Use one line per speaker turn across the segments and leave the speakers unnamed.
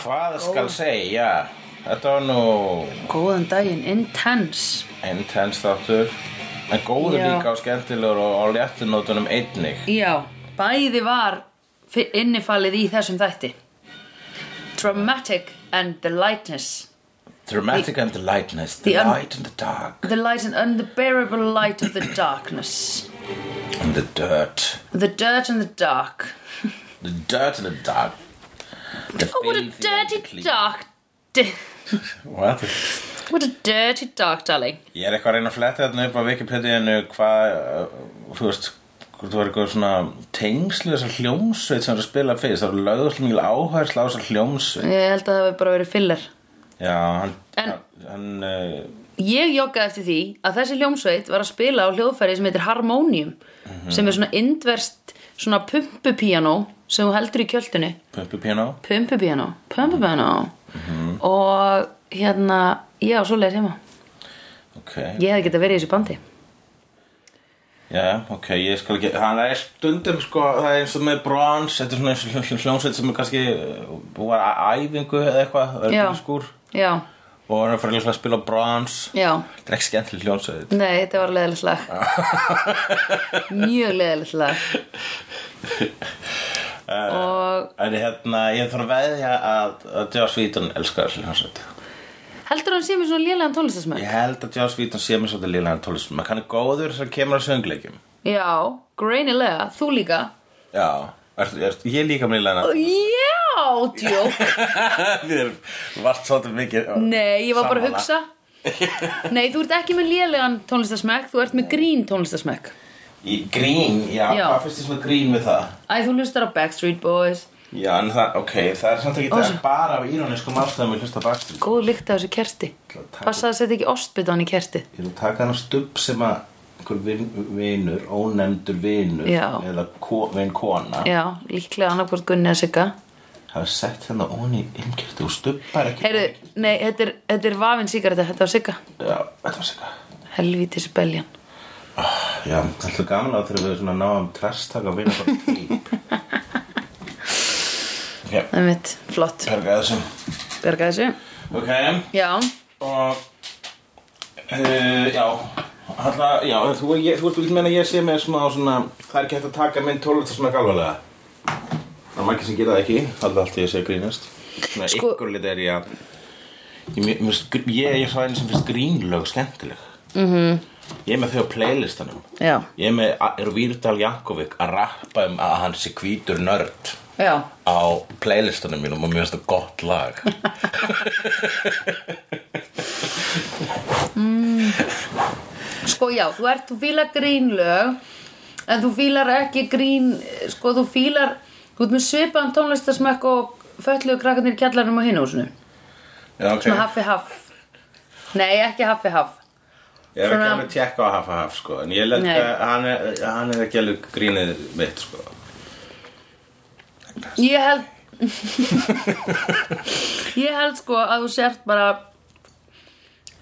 Hvað skal segja? Þetta var nú
Góðan daginn, intense
intense þáttur En góður
Já.
líka og skemmtilegur og á léttunótunum einnig
Já, bæði var fi- innifalið í þessum þætti Dramatic and the lightness
Dramatic and the lightness, the,
The un-
light and the dark
The light and unbearable light of the darkness
And the dirt
The dirt and the dark
The dirt and the dark The
Oh, what a
filthy and the
dirty
clean.
dark di-
What?
What a dirty dark, darling
Ég er eitthvað að reyna að fletta þarna upp á Wikipediainu hvað, uh, þú veist, hvort þú er eitthvað svona tengslu þessar hljómsveit sem er að spila fyrst, það er lögðu svo mjög áherslu á þessar hljómsveit.
Ég held að það hafi bara verið filler
Já, hann,
En-
hann, uh,
Ég joggaði eftir því að þessi hljómsveit var að spila á hljóðfæri sem heitir harmónium sem er svona indverst svona pumpupíanó sem þú heldur í kjöldunni
pumpu piano.
Pumpupíanó, pumpupíanó og hérna ég á svoleiðis heima
Ok,
ég hefði getað verið í þessu bandi
já, ok, ég skal ekki, hann er stundum sko, það er eins og með brons, þetta er svona eins og hljó- hljó- hljómsveit sem er kannski, uh, var að æfingu eða eitthvað, það
Já.
er bílskúr
já,
og hann er að fara líklega að spila brons.
já,
Þetta er ekki skemmtileg hljómsveit.
nei þetta var leðilegt lag mjög leðilegt lag og
En hérna, ég þarf að veðja að, að Joss Whedon elskar þessu hljómsveit.
heldur hann sé mér svona lélegan tónlistasmöð
Ég held að Joss Whedon sé mér svolítið lílega en tólistum. Maður kannu góður sem kemur að söngleikjum.
já, greinilega, þú líka
Já. Er, er, ég líka mér lílega en
já, djók
að Þið er vart svolítið mikið.
Nei, ég var bara að
sammála.
hugsa Nei, þú ert ekki með lélegan tónlistasmekk Þú ert með grín tónlistasmekk
Í grín, já.
Já.
Hvað finnst þið svona grín við það?
Æ, þú hlustar á Backstreet Boys
Já, en það, ok, það er samt ekki
Og
það
svo-
er bara af íróniskum ástæðum að hlusta bakstri.
Góð lykt af þessu kerti Passa að setja ekki ostbyttan í kerti
Ég vil taka hann að stubb sem að einhver vin- vinur, ónefndur vinur
Já.
eða ko, vin kona
Já, líklega annarkvort Gunni að sigga
hafa sett hérna onni innkjöldu og stubbar ekki
Heyrðu, nei, þetta er, þetta er vafin sigaretta Þetta var sigga
Já, þetta var sikka
Helvítis beljan
Já, það er gaman að þegar við svona náum trastak að vinna bara típ Já,
Það er mitt, flott
perga þessum
Berga þessu
Ok,
Já,
og uh, Já, Halla, já, þú, ég, þú ert vilt meina að ég sé með smá svona Það er ekki hægt að taka minn tólvita svona galvalega Það er margir sem gera það ekki Halla allt ég sé að grínast Svona
Sko-
ykkur lit er ég að Ég, mér- mér finnst gr- ég, ég er svo einu sem finnst grínlög skemmtileg
Mhm.
-hmm. Ég er með þau á playlistanum
já,
Ég er með er Vírdal Jankovic að rappa um að hann sé hvítur nörd
já
á playlistanum mínum og mér finnst það gott lag
Sko já, þú ert, þú fílar grínlög En þú fílar ekki grín Sko þú fílar Þú ert með svipaðan tónlistasmekk og Fötluðu krakkarnir í kjallarum á hinúsinu
Já, ok
Svona haffi haff Nei, ekki haffi haff
Ég er ekki
svona-
alveg að tjekka á Hafa Haf sko en ég legg
Nei.
að hann er, hann er ekki alveg grínið mitt sko
Ég held Ég held sko að þú sért bara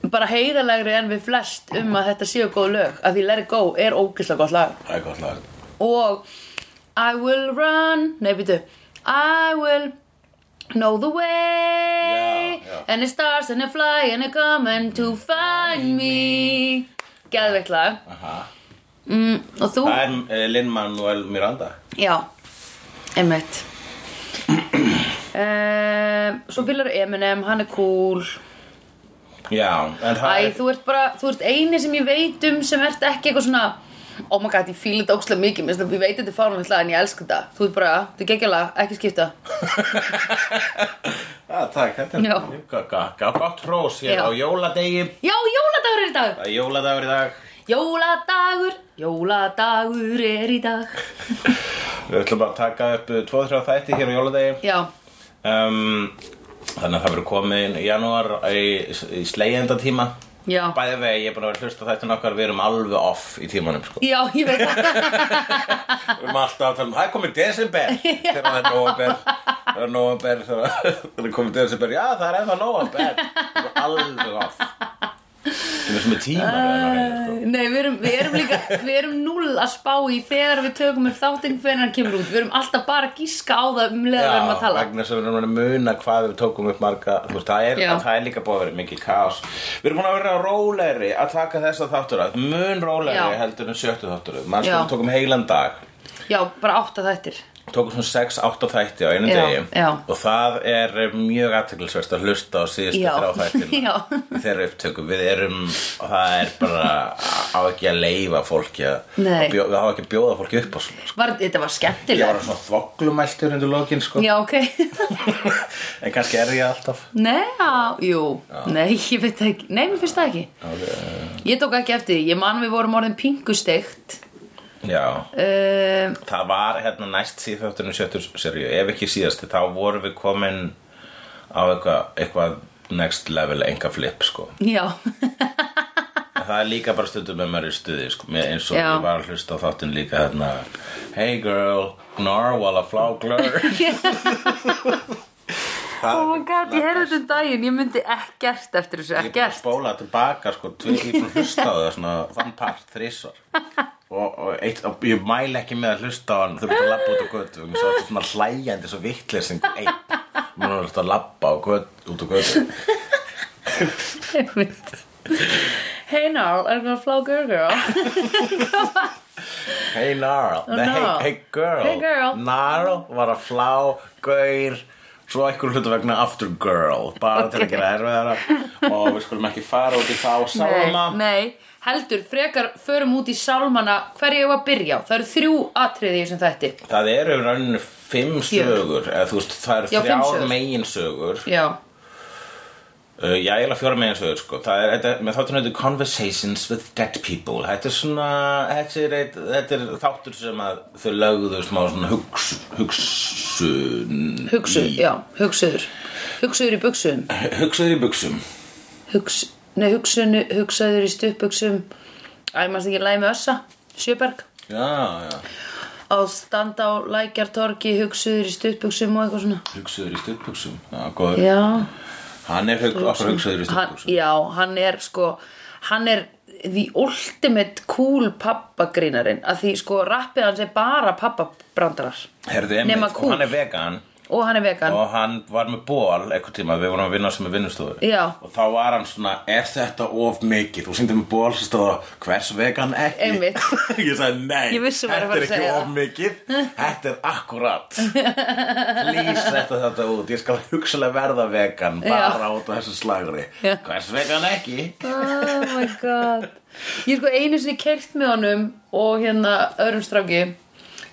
bara heiðalegri en við flest um að þetta séu góð lög að því Let It Go er ógislega gott lag
Það er gott lag
og I will run nei býtu I will know the way
Já, já. Mm,
and it starts and it fly and it coming to find me geðveikt lag
Aha.
mm, og þú
Það er uh, Lin-Manuel Miranda
Já, einmitt um, Svo fylgur Eminem, hann er cool
Já, en það
Æ,
er
þú ert bara, þú ert eini sem ég veit um sem ert ekki eitthvað svona Oh my god, ég fíla þetta ókslega mikið, minnst að ég veit þetta er fáránlegt lag en ég elska þetta Þú ert bara, þú er geggjala, ekki skipta
Já, takk, þetta
Já.
er gá- gá- gá- gott hrós hér
Já.
á jóladegi
Já, jóladagur er í dag
Það er jóladagur í dag
Jóladagur, jóladagur er í dag
Við ætlum bara að taka upp 2-3 þætti hér á jóladegi
Já,
um, Þannig að það verður komin í janúar í, í slegjenda tíma
já
Bæði vegi, ég er búin að vera að hlusta á þættin okkar Við erum alveg off í tímanum sko.
Já, ég veit það
Við erum alltaf að tala um, það er komið desember Þegar það er nóvember Það er nóvember þegar það er komið desember Já, það er ennþá nóvember Við erum alveg off sem er sem er tíma sko.
Nei, við erum, við erum líka við erum núl að spá í þegar við tökum upp þáttinn hvernig hann kemur út við erum alltaf bara að gíska á það um leða við erum að tala
vegna sem við erum að muna hvað við tókum upp marga þú veist, það, er,
Já.
það er líka búið að vera mikil kaos Við erum búin að vera rólegri að taka þessa þáttur að mun rólegri
Já.
heldur en sjöttu þáttur Manstu
Já.
við tókum heilan dag
Já, bara átta þættir
Tókum svona 6-8 þætti á einu
Já,
degi
já.
og það er eh, mjög aðteklisverst að hlusta á síðustu
Já.
þrjá þættina
Já.
í þeirra upptöku Við erum, og það er bara á ekki að leifa fólki að,
Nei.
að bjó, við á ekki að bjóða fólki upp á svona sko.
var, Þetta var
Ég
skemmtilegt
var svona þvoglumæltur undir lokin sko
Já, ok
En kannski er ég alltaf
Nei, já, jú Nei, ég veit það ekki Nei, mér finnst það ekki
eh,
Ég tók ekki eftir því Ég man við vorum orðin pingusteikt
Já,
uh,
það var hérna næst síðþáttunum sjöttur serju Ef ekki síðasti, þá vorum við komin á eitthvað, eitthvað next level enga flip sko
Já,
En Það er líka bara stundum með maður í stuði sko Mér eins og
Já.
ég var að hlusta á þáttun líka hérna Hey girl, narwala flagler
oh my god, ég heyrði þetta um daginn Ég myndi ekkert eftir þessu,
Ég bara
ekkert
spóla tilbaka sko tvi, Ég bara hlusta á það svona þann part þrísvar og, og, eitt, og ég mæla ekki með að hlusta á hann þau eru að labba út á götu og svo er þetta svona hlægjandi svo vittlesing einn maður er alltaf að labba á götu, út á götu
Hey now, I'm gonna flow girl girl
Hey Narl, nei, hey,
Narl.
hey girl,
Oh, Hey, girl.
Narl var að flá, gaur svo ekkur hlutu vegna after girl bara til að gera erfiðara og við skulum ekki fara út í þá sálma
Nei, nei, heldur, frekar förum út í sálmana Hverju ég var að byrja á? Það eru þrjú atriði í þessum þætti
það eru í rauninu fimm
Fjögur.
sögur eða þú veist, það eru
Já, fimm
þrjár
sögur.
megin sögur
Já,
Uh, já, ég er að fjóra megin sögur sko Það er, þetta, með þáttunum þetta er Conversations with Dead People Þetta er svona, þetta er, eitt, þetta er þáttur sem að þau lögðu smá svona hugs, hugsun
hugsuður, já, hugsuður Hugsuður í buksum
Hugsaður í buxum
Hugs, Nei, hugsunu, hugsaður í stuppbuksum Æ, maður ekki læmi össa Sjöberg
Já, já,
Á standa á lækjartorgi Hugsuður í stuppbuksum og eitthvað svona
hugsaður í stuttbuxum Já, góður
Já,
Hann er hug, okkur hugsaður í
hann,
stuttbuxum
já, hann er sko Hann er the ultimate cool pappagrínarin Að því sko rappið hans er bara pappabrandarar
Herðu
Nema
einmitt,
kúl.
og hann er vegan
Og hann er vegan
og hann var með ból eitthvað tíma, við vorum að vinna sem er vinnustofu
Já.
og þá var hann svona, er þetta of mikið þú syndið með ból sem stóða, hvers vegan ekki
Einmitt.
ég sagði, nei,
Ég vissi maður að fara
þetta er
að
ekki
segja
of
það."
mikið þetta er akkurat please þetta þetta út ég skal hugsalega verða vegan bara út á þessu slagri
Já.
hvers vegan ekki
Oh my god Ég er sko einu sinni keirt með honum og hérna öðrum stráki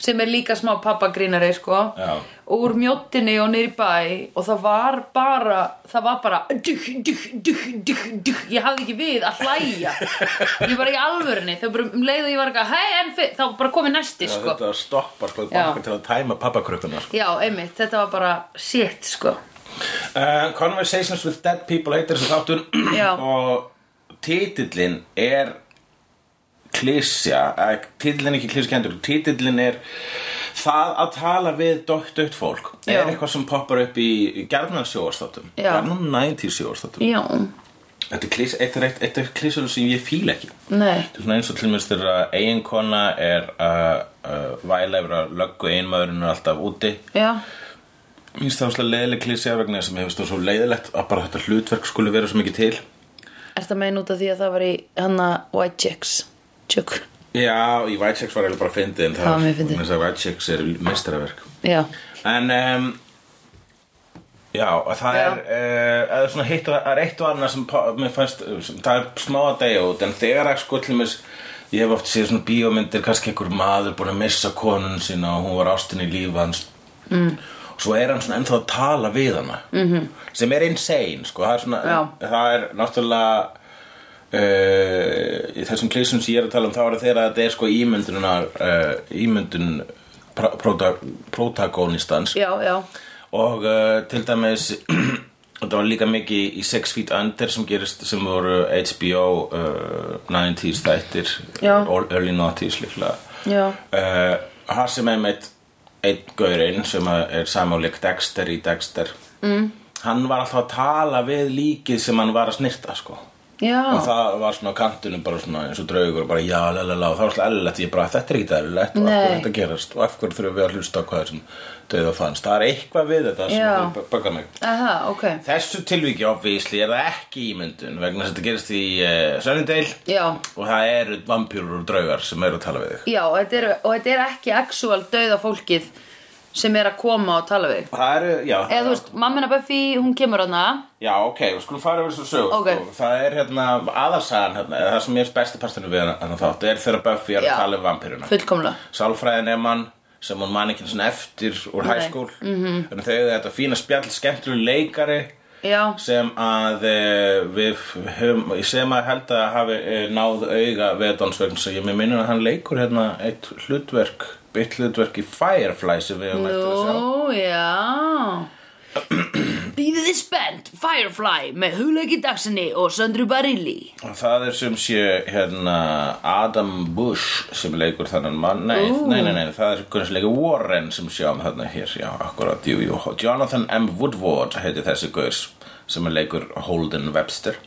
sem er líka smá pappagrínari sko
Já.
úr mjóttinni og niður í bæ og það var bara það var bara duh, duh, duh, duh, duh. ég hafði ekki við að hlæja ég var ekki alvörinni þau bara um leið og ég var ekki að hei en fyrir þá bara komið næsti
Já,
sko
þetta stoppar sko,
Já.
banka til að tæma pappakrökkuna sko.
Já, einmitt, þetta var bara shit sko
Uh, Conversations with Dead People heitir þessi þáttur
Já.
og titillin er klísja, titillin er ekki klískendur titillin er það að tala við dött, dött fólk
Já.
er eitthvað sem poppar upp í gerðnan sjóarstátum,
Já.
gerðnan 90 sjóarstátum
Já,
þetta er klís, eitt er, eitt, eitt er klísur sem ég fíla ekki
nei
Þetta er svona eins og til mér styrir að eiginkona er að uh, væla yfir að löggu einmaðurinn er alltaf úti
Já,
Mér finnst það áslega leiðileg klísja vegna sem hefur stóð svo leiðilegt að bara þetta hlutverk skulle vera svo mikið til.
er það megin út af því að það var í hana White Chicks Tjökk
Já, í White Chicks var eiginlega bara fyndið en það
Það var mjög fyndið.
vegna þess að White Chicks er meistaraverk.
Já,
En, um, já, og það
Já.
er, uh, eða svona hitt og, það er eitt og annað sem, pa- mér fannst, eh, sem, það er smá að degja út, en þegar að sko til mér, ég hef oft séð svona bíómyndir, kannski einhver maður búin að missa konun sína og hún var ástin í lífi hans
Mm.
og svo er hann svona ennþá að tala við hana -hmm. sem er insane sko. það, er svona,
Mhm. Já.
það er náttúrulega uh, í þessum klísum sem ég er að tala um þá er þeirra að þetta er sko ímyndunar uh, ímyndun pró- próta- protagonistans
já, já
og uh, til dæmis þetta var líka mikið í Six Feet Under sem gerist sem voru HBO uh, 90s þættir
Já.
early 90s líklega
Já.
uh, hann sem er með einn gaurinn sem að er samáleik Dexter í Dexter mm. hann var alltaf að tala við líkið sem hann var að snirta sko
Já,
og það var svona á kantinum bara svona eins og draugur og bara já, la, la, la, og það var svona ellilegt ég bara, þetta er ekki ellilegt og af hverju
Nei.
er þetta að gerast og af hverju þurfum við að hlusta á hvað þessum döða fannst það er eitthvað við þetta
Já.
sem baka mig
aha, ok
þessu tilvíki obvísli er það ekki ímyndun vegna þess að þetta gerist í uh, Sunnydale
Já,
og það eru vampýrur og draugar sem eru að tala við þig
já og þetta er, og þetta er ekki actual dauða fólkið sem er að koma og tala við þig.
það eru, já,
Eða þú veist, mammina Buffy, hún kemur hana
já, ok, við skulum fara yfir þessu sög
Ok.
það er hérna aðarsagan hérna, eða það sem ég er besti partinu við hann þátt er þegar Buffy er
Já.
að tala um vampýruna
fullkomlega
sálfræðin emann sem hún man ekki svona eftir úr
Nei.
hæskól mm -hmm. en þau eru þetta fína spjall skemmtileg leikari
Já,
sem að e, við höfum, sem að held að hafi e, náð auga veðdans vegna sem ég mér minnur að hann leikur hérna eitt hlutverk, eitt hlutverk í Firefly sem við höfum eftir að sjá
nú, já Býðið þið spennt, Firefly með hugleiki dagsinni og Söndru Barilli
Og Það er sem sé hérna Adam Bush sem leikur þannan mann Nei,
Ú.
nei, nei, nei, það er hvernig sem leikur Warren sem sjáum þarna hér Já, akkurat, jú, jú Jonathan M. Woodward heiti þessi gaur sem leikur Holden Webster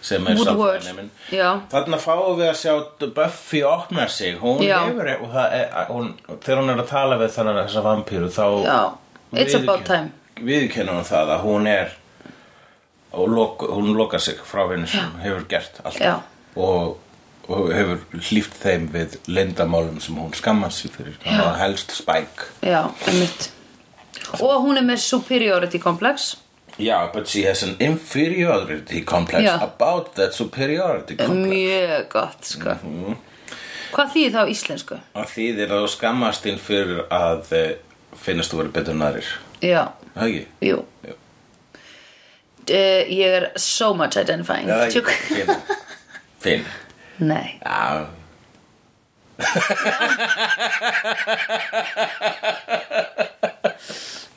sem er
Woodward,
sálfræðineminn.
já.
Þarna fáum við að sjá Buffy opna sig Hún
Já.
hefur, e- og það er, hún, þegar hún er að tala við þannig þessa vampíru þá
Já, it's about time
Viðkennum það að hún er og lok, hún lokar sig frá henni sem hefur gert allt
Já.
og, og hefur hlýft þeim við leyndamálum sem hún skammast sér fyrir hann var helst Spike
Já, einmitt Og hún er með superiority complex
yeah, but she has an inferiority complex
Já.
about that superiority complex
Mjög gott, sko Hvað þýðir það á íslensku?
og þýðir að þú skammast þín fyrir að eh, finnast þú verið betur en aðrir
Já,
Það ekki?
jú
Jú.
Uh, ég er so much identifying
Já, það
Tjúk.
ekki? Finn Finn
Nei
Já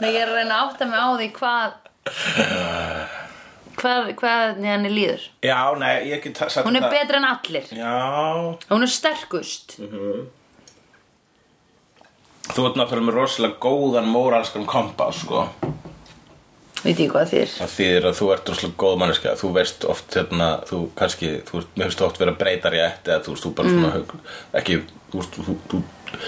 Nei, ég er að reyna að átta mig á því hvað hvað, hvað henni líður
Já, nei, ég get sagt
hún er
þetta-
betri en allir
Já
hún er sterkust
Þú ert náttúrulega með rosalega góðan móralskan kompa, sko.
veit ég hvað þýr
Það þýðir að þú ert rosalega góð manneska. Þú veist oft, hérna, þú kannski, þú ert, mér finnst oft vera breytar í eftir eða þú veist, þú bara svona, hug, ekki, þú veist, þú, þú, þú,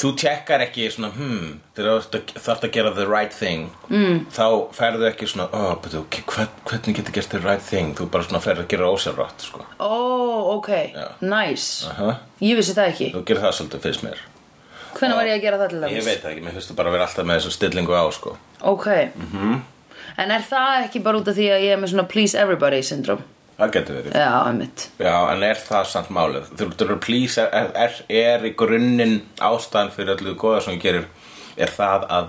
þú tekkar ekki svona, hmm, þegar þú ert að- þarft að gera the right thing, mm. þá ferðu ekki svona, oh, betur, ok, hvern, hvernig getur gert the right thing? Þú bara svona ferðu að gera ósjálfrátt, sko.
ó, ok, nice
Aha.
ég vissi það ekki
Þú gerir það svolítið fyrst mér.
hvenær var ég að gera það til
Ég
dæmis?
veit það ekki, mér finnst þú bara vera alltaf með þessu stillingu á, sko.
ok Mhm. en er það ekki bara út af því að ég er með svona please everybody syndrom
Það getur verið.
já, einmitt
Já, en er það samt málið? Þú eru að plýsa, er, er, er í grunninn ástæðan fyrir allir góða sem þú gerir, er það að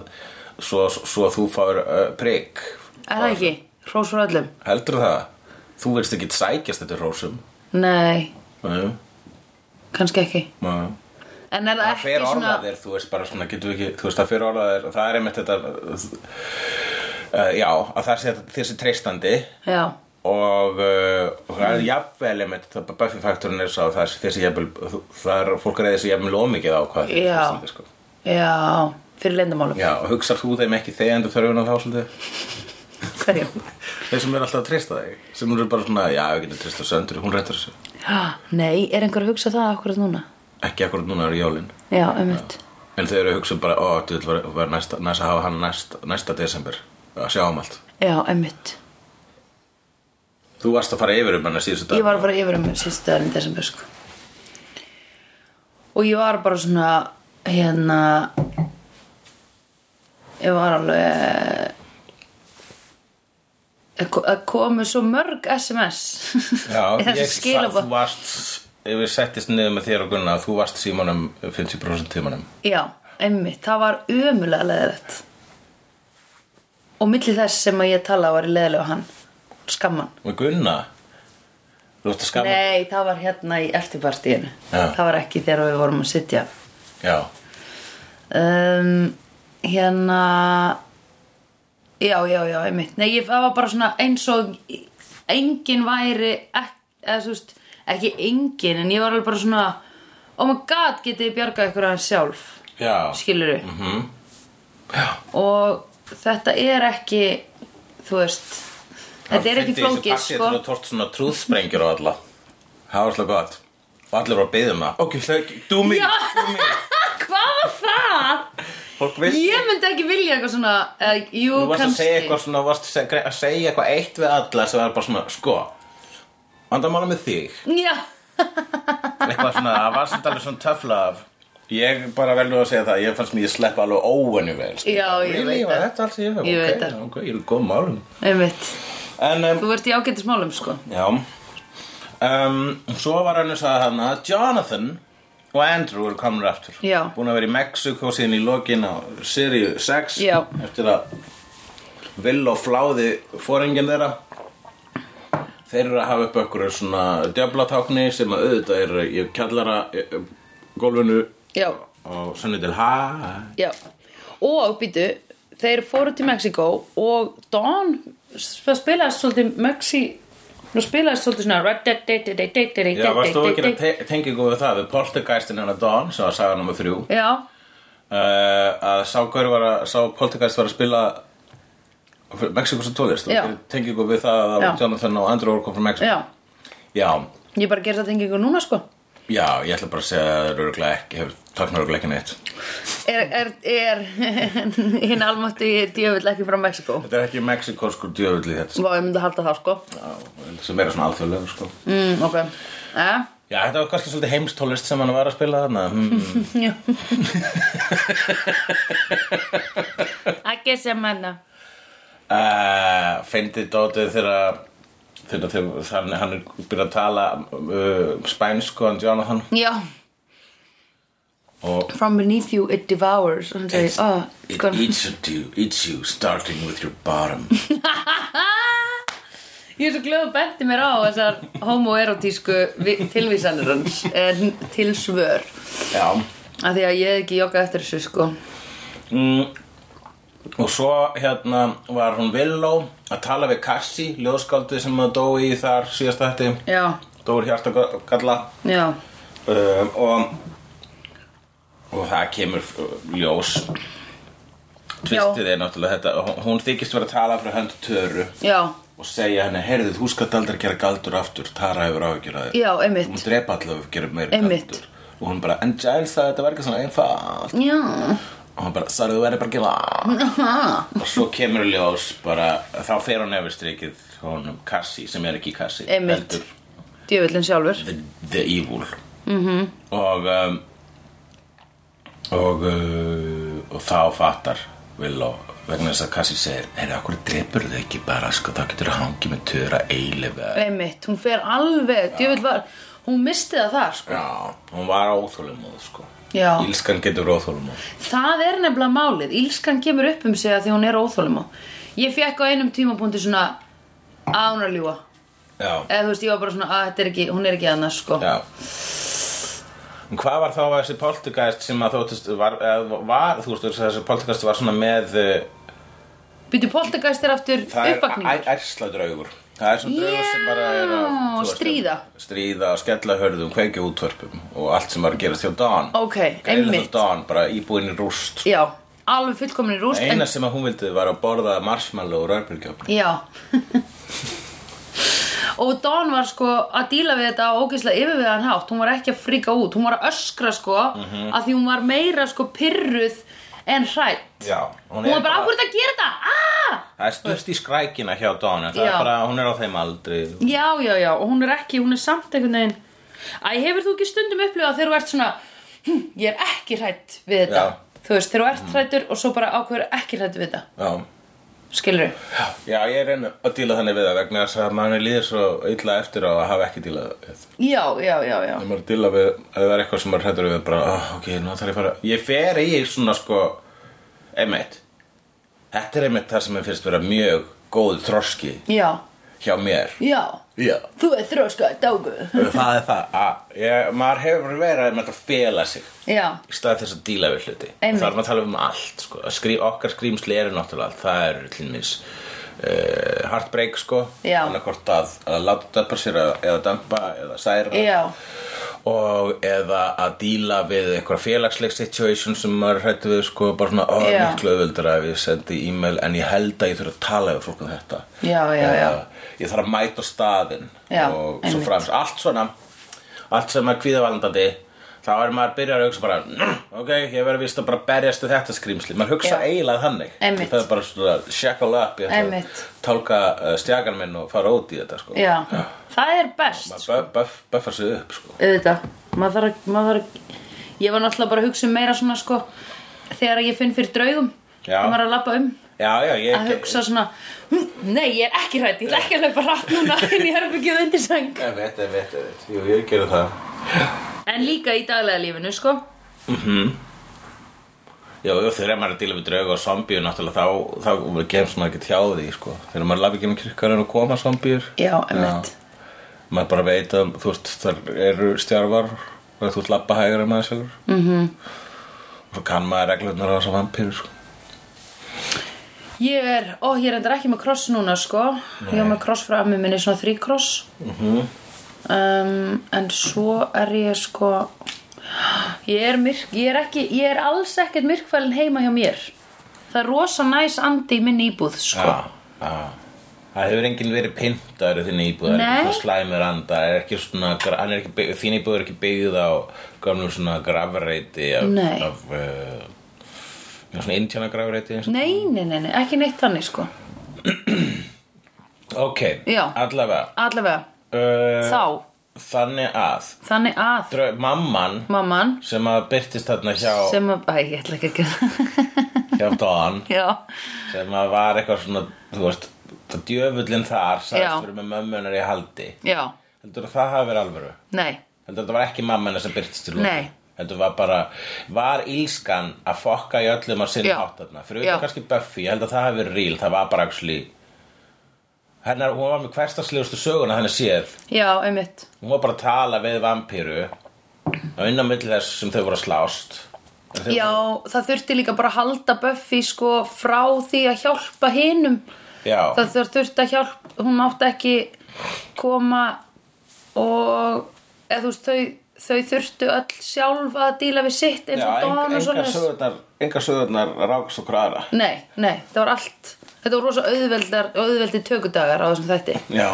svo, svo þú fáir uh, prik?
er það ekki, hrós frá öllum
Heldur það? Þú verðist ekki sækjast þetta rósum.
nei,
Nei,
kannski ekki
nei.
en er það,
Það
ekki
fer
svona
orðaðir, þú veist bara svona, getur við ekki, þú veist það fer orðaðir og það er einmitt þetta, uh, já, að það sé þessi treystandi
já,
og uh, og það er jafnvel einmitt, það bara Buffy-faktorinn er sá það er þessi jafnvel, það er fólk reyðið þessi jafnvel ómikið á hvað
Já.
þetta er sko.
já fyrir leyndamálum
Já, og hugsar þú þeim ekki þegjandi þörfuna þá svolítið?
hverjum
Þeir sem eru alltaf að treysta þig, sem eru bara svona, já, við getum treysta söndur, hún reyndar þessu.
Já, Nei, er einhver að hugsa það akkurat núna?
Ekki akkurat núna eru jólin.
Já, umhvert.
En þeir eru að hugsa bara, ó, þú vil vera næsta, næst að hafa hann næst, næsta desember, að sjá um allt.
Já, umhvert.
Þú varst að fara yfir um hann að síðustu dag.
Ég var að fara yfir um síðustu daginn í desember, sko. Og ég var bara svona, hérna, ég var alveg, það komu svo mörg SMS.
Já,
Eða
ég sa,
skilaboð.
þú varst, ef við settist niður með þér og Gunna, þú varst símanum 50% tímanum.
Já, einmitt, það var ömulega leðilegt Og milli þess sem að ég tala var leðilega hann Skamman
Með Gunna? Þú ert að skamma?
Nei, það var hérna í eftirpartíinu
Já.
Það var ekki þegar við vorum að sitja
Já,
um, Hérna Já, já, já, einmitt Nei, ég, það var bara svona eins og Engin væri ek, eða, þú veist, Ekki engin En ég var alveg bara svona Oh my god, getið þið bjargað ykkur aðeins sjálf
já,
Skilurðu?
já.
og þetta er ekki þú veist Þetta er ekki flókið,
Það
sko.
er tórt svona trúðsprengjur á alla Það var svolítið gott Og allir voru að byggja um það Ok, það, do me,
Já.
do me
Hvað var það?
Fólk vissi
Ég myndi ekki vilja eitthvað svona uh, Jú,
Þú varst að
kannski
segja eitthvað svona, varst að segja- að segja eitthvað eitt við alla sem var bara svona, sko, vandamála með þig.
Já,
Eitthvað svona, það var samt alveg svona töfla af. Ég bara vel nú að segja það, ég fannst mér ég sleppa alveg óvenju vel. sko.
Já, ég
Really?
veit
Var
það.
Þetta alls ég hef,
Ég veit
ok,
það.
ok, ég er í góð málum.
einmitt
En, um,
Þú ert í ágættismálum, sko
já, um, svo var hann að sagði hann að Jonathan og Andrew eru komin aftur.
Já.
Búin að vera í Mexiko síðan í lokin á Sirius 6.
Já.
Eftir að vill og fláði fóringin þeirra. Þeir eru að hafa upp okkur svona djöflatákni sem að auðvitað eru í kjallara í- í gólfinu
Já.
og sunni til hæ
Já, og býtu þeir fóru til Mexíkó og Don sp- spilaði svolítið Mexí nú spilaði svolítið svona
Já, varst þú ekki að te- tengja góð við það við poltergeistin hennar Dawn sem var saga nummer þrjú uh,
Já,
Eh, að sá hver var að, sá poltergeist var að spila Mexikosa tólist
Já.
og tengja góð við það að það
Já.
var Jonathan og Andrew voru kom frá Mexiko
já,
Já,
ég bara gerði það engingu núna sko
já, ég ætla bara að segja að það eru örugglega ekki, hefur takna eru ekki neitt
Er, er, er hinn almátti djöfull ekki frá Mexíkó
Þetta er ekki mexikoskur djöfull í þetta
Vá, ég myndi halda það sko
Já, sem er svona alþjóðlega sko.
mm, Ok, eh?
Já, þetta var kannski svolítið heimstólist sem hann var að spila þarna hmm.
Já Ekki sem hennar
uh, Feindið dótið þegar þegar þegar hann, hann er byrjað að tala uh, spænsku hann Jonathan
Já
og
From beneath you it devours og hann segir, oh,
it
gone."
eats at you, eats you starting with your bottom
Ég er svo glöð að benti mér á þessar homoerotísku vi- tilvísanir hans en Eh, til svör
Já
af því að ég hef ekki joggað eftir þessu sko
mm. Og svo hérna var hún Willow að tala við Cassie, ljóðskáldið sem að dói í þar síðast þetta
Já,
Dóri Hjartagalla
já,
um, og og það kemur uh, ljós tvistið er náttúrulega þetta hún- hún þykist vera að tala frá höndu töru
já,
og segja henni, heyrðu þú skalt aldrei gera galdur aftur, Tara hefur áhyggjur að þér
já,
þú
einmitt
mútt drepa allavega að gera meira
Einmitt.
galdur og hún bara, en Giles það þetta var ekki svona einfalt
Já,
og hún bara, sorry þú verður bara að gera
aha,
það." og svo kemur ljós bara, þá fer hún efir strikið honum Cassie, sem er ekki Cassie
Einmitt.
heldur
djöfullin sjálfur
The, the Evil mm
Mhm.
-hmm. og um, og uh, og þá fattar Willow vegna þess að Cassie segir er það okkur drepur þau ekki bara sko þá getur þú hangið með töra eilifu
Einmitt, hún fer alveg, djöfull var hún misti það þar sko
já, hún var óþólumóð sko
Já,
Ílskan getur óþólumóð
það er nefnilega málið Ílskan kemur upp um sig að því hún er óþólum á Ég fekk á einum tímapunkti svona að hún er að ljúga
já,
eða þú veist, ég var bara svona að þetta er ekki, hún er ekki annars sko
já En hvað var þá þessi poltergeist sem að þóttist var, eða var þú veist þessi poltergeist var svona með uh,
Býtu poltergeist er aftur
Það er
uppvakningar
æ- ærsla draugur Það er svona draugur sem bara er að
Já,
þú veist, hérna,
stríða.
Stríða, skella hörðum, kveikja útvörpum Og allt sem var að gerast hjá Dawn
Ok,
Greinlega
einmitt.
hjá Dawn, bara íbúin í rúst
Já, alveg fullkomin í rúst
Eina sem að hún vildi var að borða marshmallow og rörbjörgjöfn
en, Já Og Dawn var sko að díla við þetta á ógeðslega yfirveðan hátt Hún var ekki að fríka út, hún var að öskra sko mm að því hún var meira sko pyrruð en hrætt
Já, hún
Hún
er
var bara, af hverju þetta að gera þetta? Ah!
Það er stust í skrækina hjá Dawn En það
Já.
er bara, hún er á þeim aldri
Já, já, já, og hún er ekki, hún er samt einhvern veginn Æ, hefur þú ekki stundum upplifað þegar þú ert svona hm, Ég er ekki hrætt við þetta
Já.
Þú veist, þegar þú ert hrættur og svo bara ákveður ekki hrætt við þetta
Já
Skilur
Já, ég er einu að díla þannig við það vegna þess að manni líður svo illa eftir á að hafa ekki dílað við.
Já, já, já, já
Ef maður dilla við, ef það er eitthvað sem maður hættur við bara, oh, ok, nú þarf ég að fara Ég fer í svona sko einmitt Þetta er einmitt það sem er fyrst vera mjög góð þroski
Já,
hjá mér
já,
Já
þú er þróskað dágu
Það er það að ég, maður hefur verið einmitt að fela sig
Já,
í stað þess að díla við hluti
Einmitt.
Það er maður að tala um allt sko. Að Skrí, okkar skrýmsli eru náttúrulega allt það eru til minns uh, heartbreak sko
Já.
annarkort að, að láta döpa sér eða, eða dömpa eða særa
já,
og eða að díla við eitthvað félagsleg situation sem maður hrættu við sko bara svona, ó,
Já.
miklu auðvöldur ef ég sendi e-mail en ég held að ég þurf að tala við fólk um þetta
Já, já,
Eða,
já.
ég þarf að mæta á staðinn
Já,
og svo
einmitt.
framst, allt svona allt sem er kvíðavaldandi þá er maður byrjar að hugsa bara "Mm, ok, ég verður vist að bara berjast við þetta skrýmsli maður hugsa
Já.
eiginlega þannig
Einmitt.
það er bara svona shackle up ég ætla að
Einmitt.
tálka uh, stjagan minn og fara út í þetta sko.
Já, það er best
maður böf- böf- buffar sig upp sko.
auðvitað maður þarf að, maður þarf að ég var náttúrulega bara að hugsa um meira svona sko þegar ég finn fyrir draugum
Já.
þegar maður er að labba um
já, já, ég
að hugsa svona "Hm, nei ég er ekki hrætt, ég ætla ekki að hlaupa rætt núna inn í herbyggjuð undir sæng
Ég veit, ég veit, ég veit, jú, ég gerði það
en líka í daglega lífinu sko
Já, já, þegar maður er að díla við drauga og zombíu náttúrulega þá, þá kemst maður ekki tjáði því, sko Þegar maður lafi ekki með kirkarinn og koma zombíur
já, emmitt
Maður bara veit að, þú veist, þar eru stjárvar og þú veist, labba hægur en maður sjálfur mm -hmm. Og svo kann maður reglurnar á þessa vampíru, sko
ég er, ó ég er endur ekki með kross núna sko ég er með kross frá ömmu minni svona þríkross um, en svo er ég sko ég er myrk ég er, ekki, ég er alls ekkert myrkfælin heima hjá mér það er rosa næs andi í minni íbúð sko
Já, já Það hefur enginn verið pyntaður í þinni íbúð, það er
Nei.
ekki svona slæmur anda, það er ekki svona, gra- hann er ekki byggð, þín íbúð er ekki byggð á gamlum svona grafreiti af,
Nei.
af uh, já, svona indjana grafreiti eins og.
nei, nei, nei, nei, ekki neitt þannig sko
Ok,
Já.
allavega,
allavega,
uh,
þá
þannig að,
þannig að
drau, mamman
mamman
sem að byrtist þarna hjá,
sem að, æ, ég ætla ekki að gera
hjá Don,
já,
sem að var eitthvað svona, þú veist, djöfullin þar,
Já.
sagðist fyrir með mömmunar í haldi,
já,
heldur að það hafi verið alvöru?
nei
Heldur þetta var ekki mamma hennar sem byrtist til lóta?
Nei.
Heldur var bara, var ílskan að fokka í öllum að sinna
Já.
hátarna? Fyrir
Já.
auðvitað kannski Buffy, ég held að það hafi verið real, það var bara actually Hennar, hún var með hverstagslegustu söguna hennar séð
já, einmitt,
Hún var bara að tala við vampíru og inn á milli þess sem þau voru að slást En þau-
já, það þurfti líka bara að halda Buffy sko frá því að hjálpa hinum
Já,
það þur- þurfti að hjálp hún mátti ekki koma og eða þú veist þau, þau þurftu öll sjálf að díla við sitt eins
já
og
enga,
Don og
enga
svona
sögurnar, enga sögurnar rákst okkur aðra
nei, nei, það var allt þetta var rosa auðveldar, auðveldi tökudagar á þessum þætti
Já,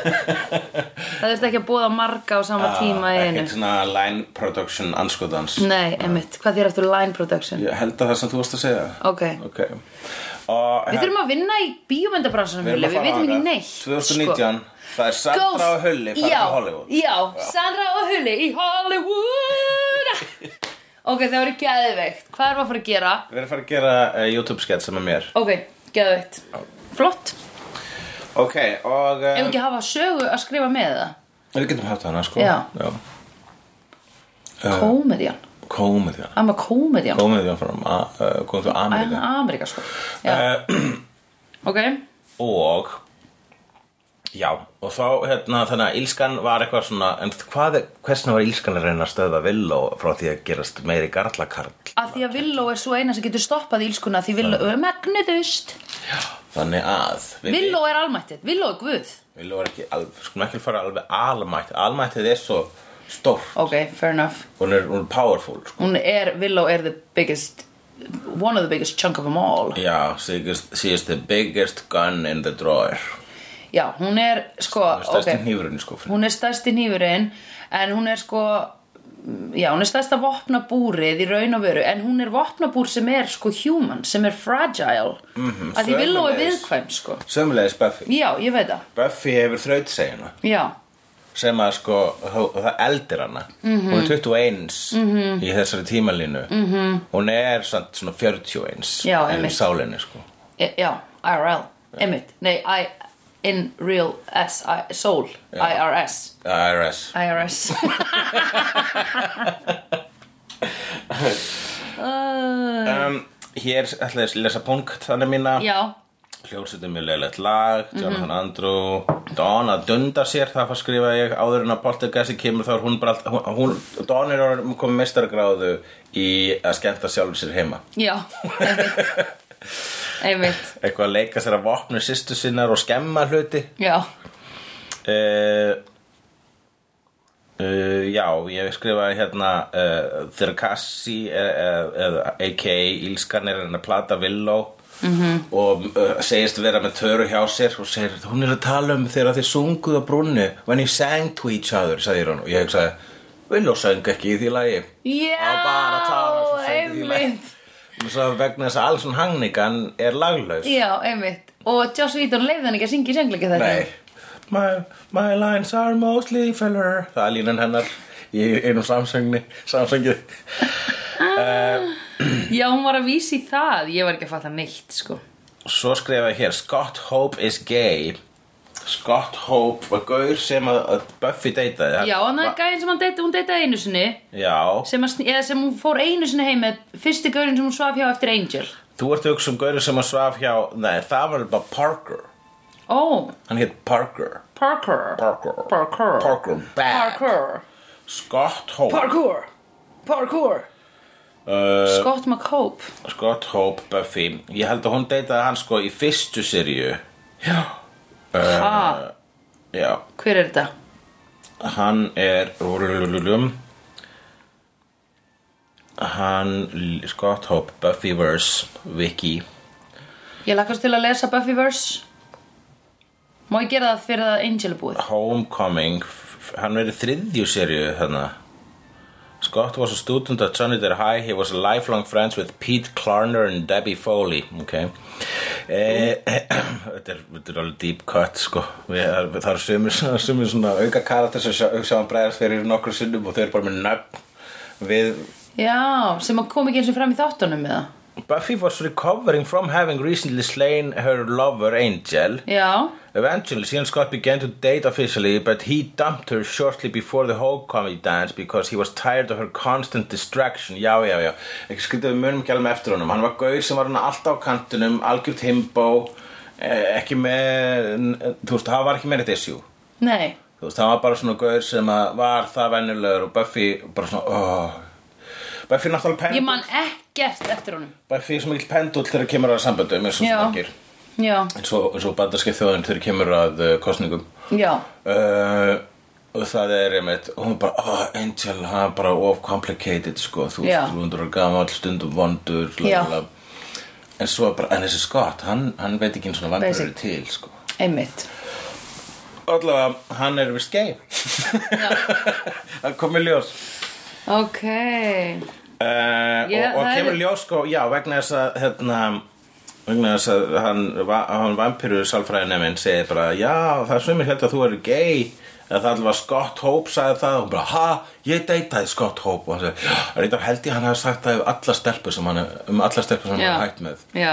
það þurfti ekki að búa marga á sama tíma í einu
ekkert svona line production anskotans
nei, emitt, hvað þér eftir line production
Ég held að það sem þú varst að segja
ok,
Ok Og
við þurfum að vinna í bíómyndabransanum Júlía, við veitum ekki neitt sko.
2019, það er Sandra
Ghost.
og Hulli fara
já,
til Hollywood
já, Sandra og Hulli í Hollywood Ok, það voru geðveikt Hvað er maður að fara að gera?
Við erum að fara að gera uh, YouTube-skett sem er mér
Ok, geðveikt Flott,
Ok, og
ef
um,
ekki hafa sögu að skrifa með það
við getum haft hana, sko
Já. Komedian,
Komedian
amma komedian
Komedian frá uh, komum til Amerika
Amerika sko já.
uh,
Ok,
Og Já, og þá, hérna, þannig að Ílskan var eitthvað svona En hvað, er- hversna var Ílskan að reyna að stöða Villó frá því að gerast meiri garlakarl
að því að Villó er svo eina sem getur stoppað ílskuna Því Villó er magnuðust
Þannig að við
Villó er almættið, Villó er guð
Við lofum ekki, alveg, skulum ekki fara alveg almætt Almættið er svo stór
Ok, fair enough
Hún er, hún er powerful sko.
Hún er, Villó er the biggest One of the biggest chunk of them all
Já, she is, she is the biggest gun in the drawer
Já, hún er sko
Stærsti
ok,
okay. hnífurinn sko, í skúfinu
Hún er stærsti nýfurinn En hún er sko mm, Já, hún er stærsta vopnabúrið í raun og veru En hún er vopnabúr sem er sko human Sem er fragile mm -hmm, Að því Villó er
sömuleiðis.
viðkvæm sko
Sömulegis Buffy
Já, ég veit það
Buffy hefur þrautsegjuna
Já,
sem að sko, hó- það eldir hana
Mhm.
Hún er 21 -hmm. í þessari tímalínu -hmm. Hún er samt svona 41
Mhm. Já,
en
einmitt.
í sálinni sko
e, já, IRL Einmitt, nei, I, in real S, I, soul, IRS
IRS
IRS uh,
um, Hér ætla ég að lesa punktana mína
Já,
hljómsveitin mjög leilægt lag Jonathan Andrew Don að dunda sér það fann skrifa ég áður en að Poltergeist kemur þá er hún bara allt- hún, hún, Don er orðin- komið mestargráðu í að skemmta sjálfur sér heima
já Einmitt, einmitt.
eitthvað að leika sér að vopnu sýstu sinnar og skemma hluti
Já,
eh, Uh, já, ég skrifaði hérna uh, Þyrkassi eða a.k.a. Ílskan er hérna að plata Villó -hmm. og uh, segist vera með töru hjá sér og segir, hún er að tala um þegar þið sunguð á brunnu when you sang to each other, sagði hún og ég hugsaði, Villó söng ekki í því lagi
Já,
á bara Tara sem söng í því lagi
einmitt.
og svo vegna þess að alls hún hangningan er laglaus
Já, einmitt. Og Joss Whedon leiði hann ekki að syngja í söngleika þetta.
Nei my, my lines are mostly filler Það er línan hennar í einum samsöngni Samsöngið
Já, hún var að vísa í það. Ég var ekki að fatta neitt, sko.
Svo skrifa ég hér Scott Hope is gay Scott Hope var gaur sem að, að Buffy deytaði
Já, hann er gæðin sem hann deyta, hún deytaði einu sinni.
Já,
Sem að, sn- eða sem hún fór einu sinni heim með fyrsti gaurin sem hún svaf hjá eftir Angel.
þú ert að hugsa um gaur sem að svaf hjá Nei, það var bara Parker
Ó,
Hann hétt Parker
Parker.
Parker
Parker.
Parker, bad
Parker.
Scott Hope
Parkour. Parkour.
uh,
Scott McCope.
Scott Hope, Buffy Ég held að hún deytaði hann sko í fyrstu sirju Já uh,
Ha,
Já,
Ah, hver er þetta?
hann er rúlulululum hann Scott Hope Buffyverse Vicky
Ég lakast til að lesa Buffyverse. Má ég gera það fyrir að Angel er búið?
Homecoming f- hann verið þriðju serju þarna Scott was a student at Sunnydale High he was lifelong friends with Pete Klarner and Debbie Foley okay. eh, þetta, er, þetta er alveg deep cut sko. Við, það er sumir, svona- sumir svona auka karakter sem sjá, sjá hann bregðast fyrir nokkru sinnum og þau eru bara með nöfn við
Já, sem að kom ekki eins og fram í þáttunum með það.
Buffy was recovering from having recently slain her lover Angel.
Já,
Eventually, she and Scott began to date officially, but he dumped her shortly before the whole comedy dance because he was tired of her constant distraction. Já, já, já. Ekki skrítið við munum ekki alveg með eftir honum. Hann var gaur sem var hann alltaf á kantunum, algjört himbó, eh, ekki með, þú veist, hann var ekki með þetta issue.
nei.
Þú veist, hann var bara svona gaur sem að var það venjulegur og Buffy bara svona, oh. Buffy er náttúrulega
Ég
penn
man ekkert eftir honum
Buffy er svo mikil pendull þegar kemur að samböndum eins og
Já.
svo margir
Já,
eins og, eins og bandarskið þjóðin þegar kemur að uh, kostningum
já,
uh, og það er einmitt og hún bara, oh, Angel, hann er bara of complicated sko, þú
Já.
veist, þú hundur að gama all stundum vondur bla,
Já.
bla, bla. en svo bara, en þessi Scott hann, hann veit ekki eins og vandur
Basic.
eru til sko.
einmitt
allavega, hann er við skeið það kom í ljós
Ok
Uh,
Ég-
og, og
það
kemur
er-
ljós sko, já, vegna þess að hérna, vegna þess að hann, va- hann vampiru salfræðineminn segir bara, já, það er sumir held að þú eru gay eða það allavega Scott Hope sagði það og hún bara, ha, ég deytaði Scott Hope og hann sagði, já, reyndar held ég að hann hafi sagt það um alla stelpu sem hann, um alla stelpu sem hann
Já.
er hægt með
Já,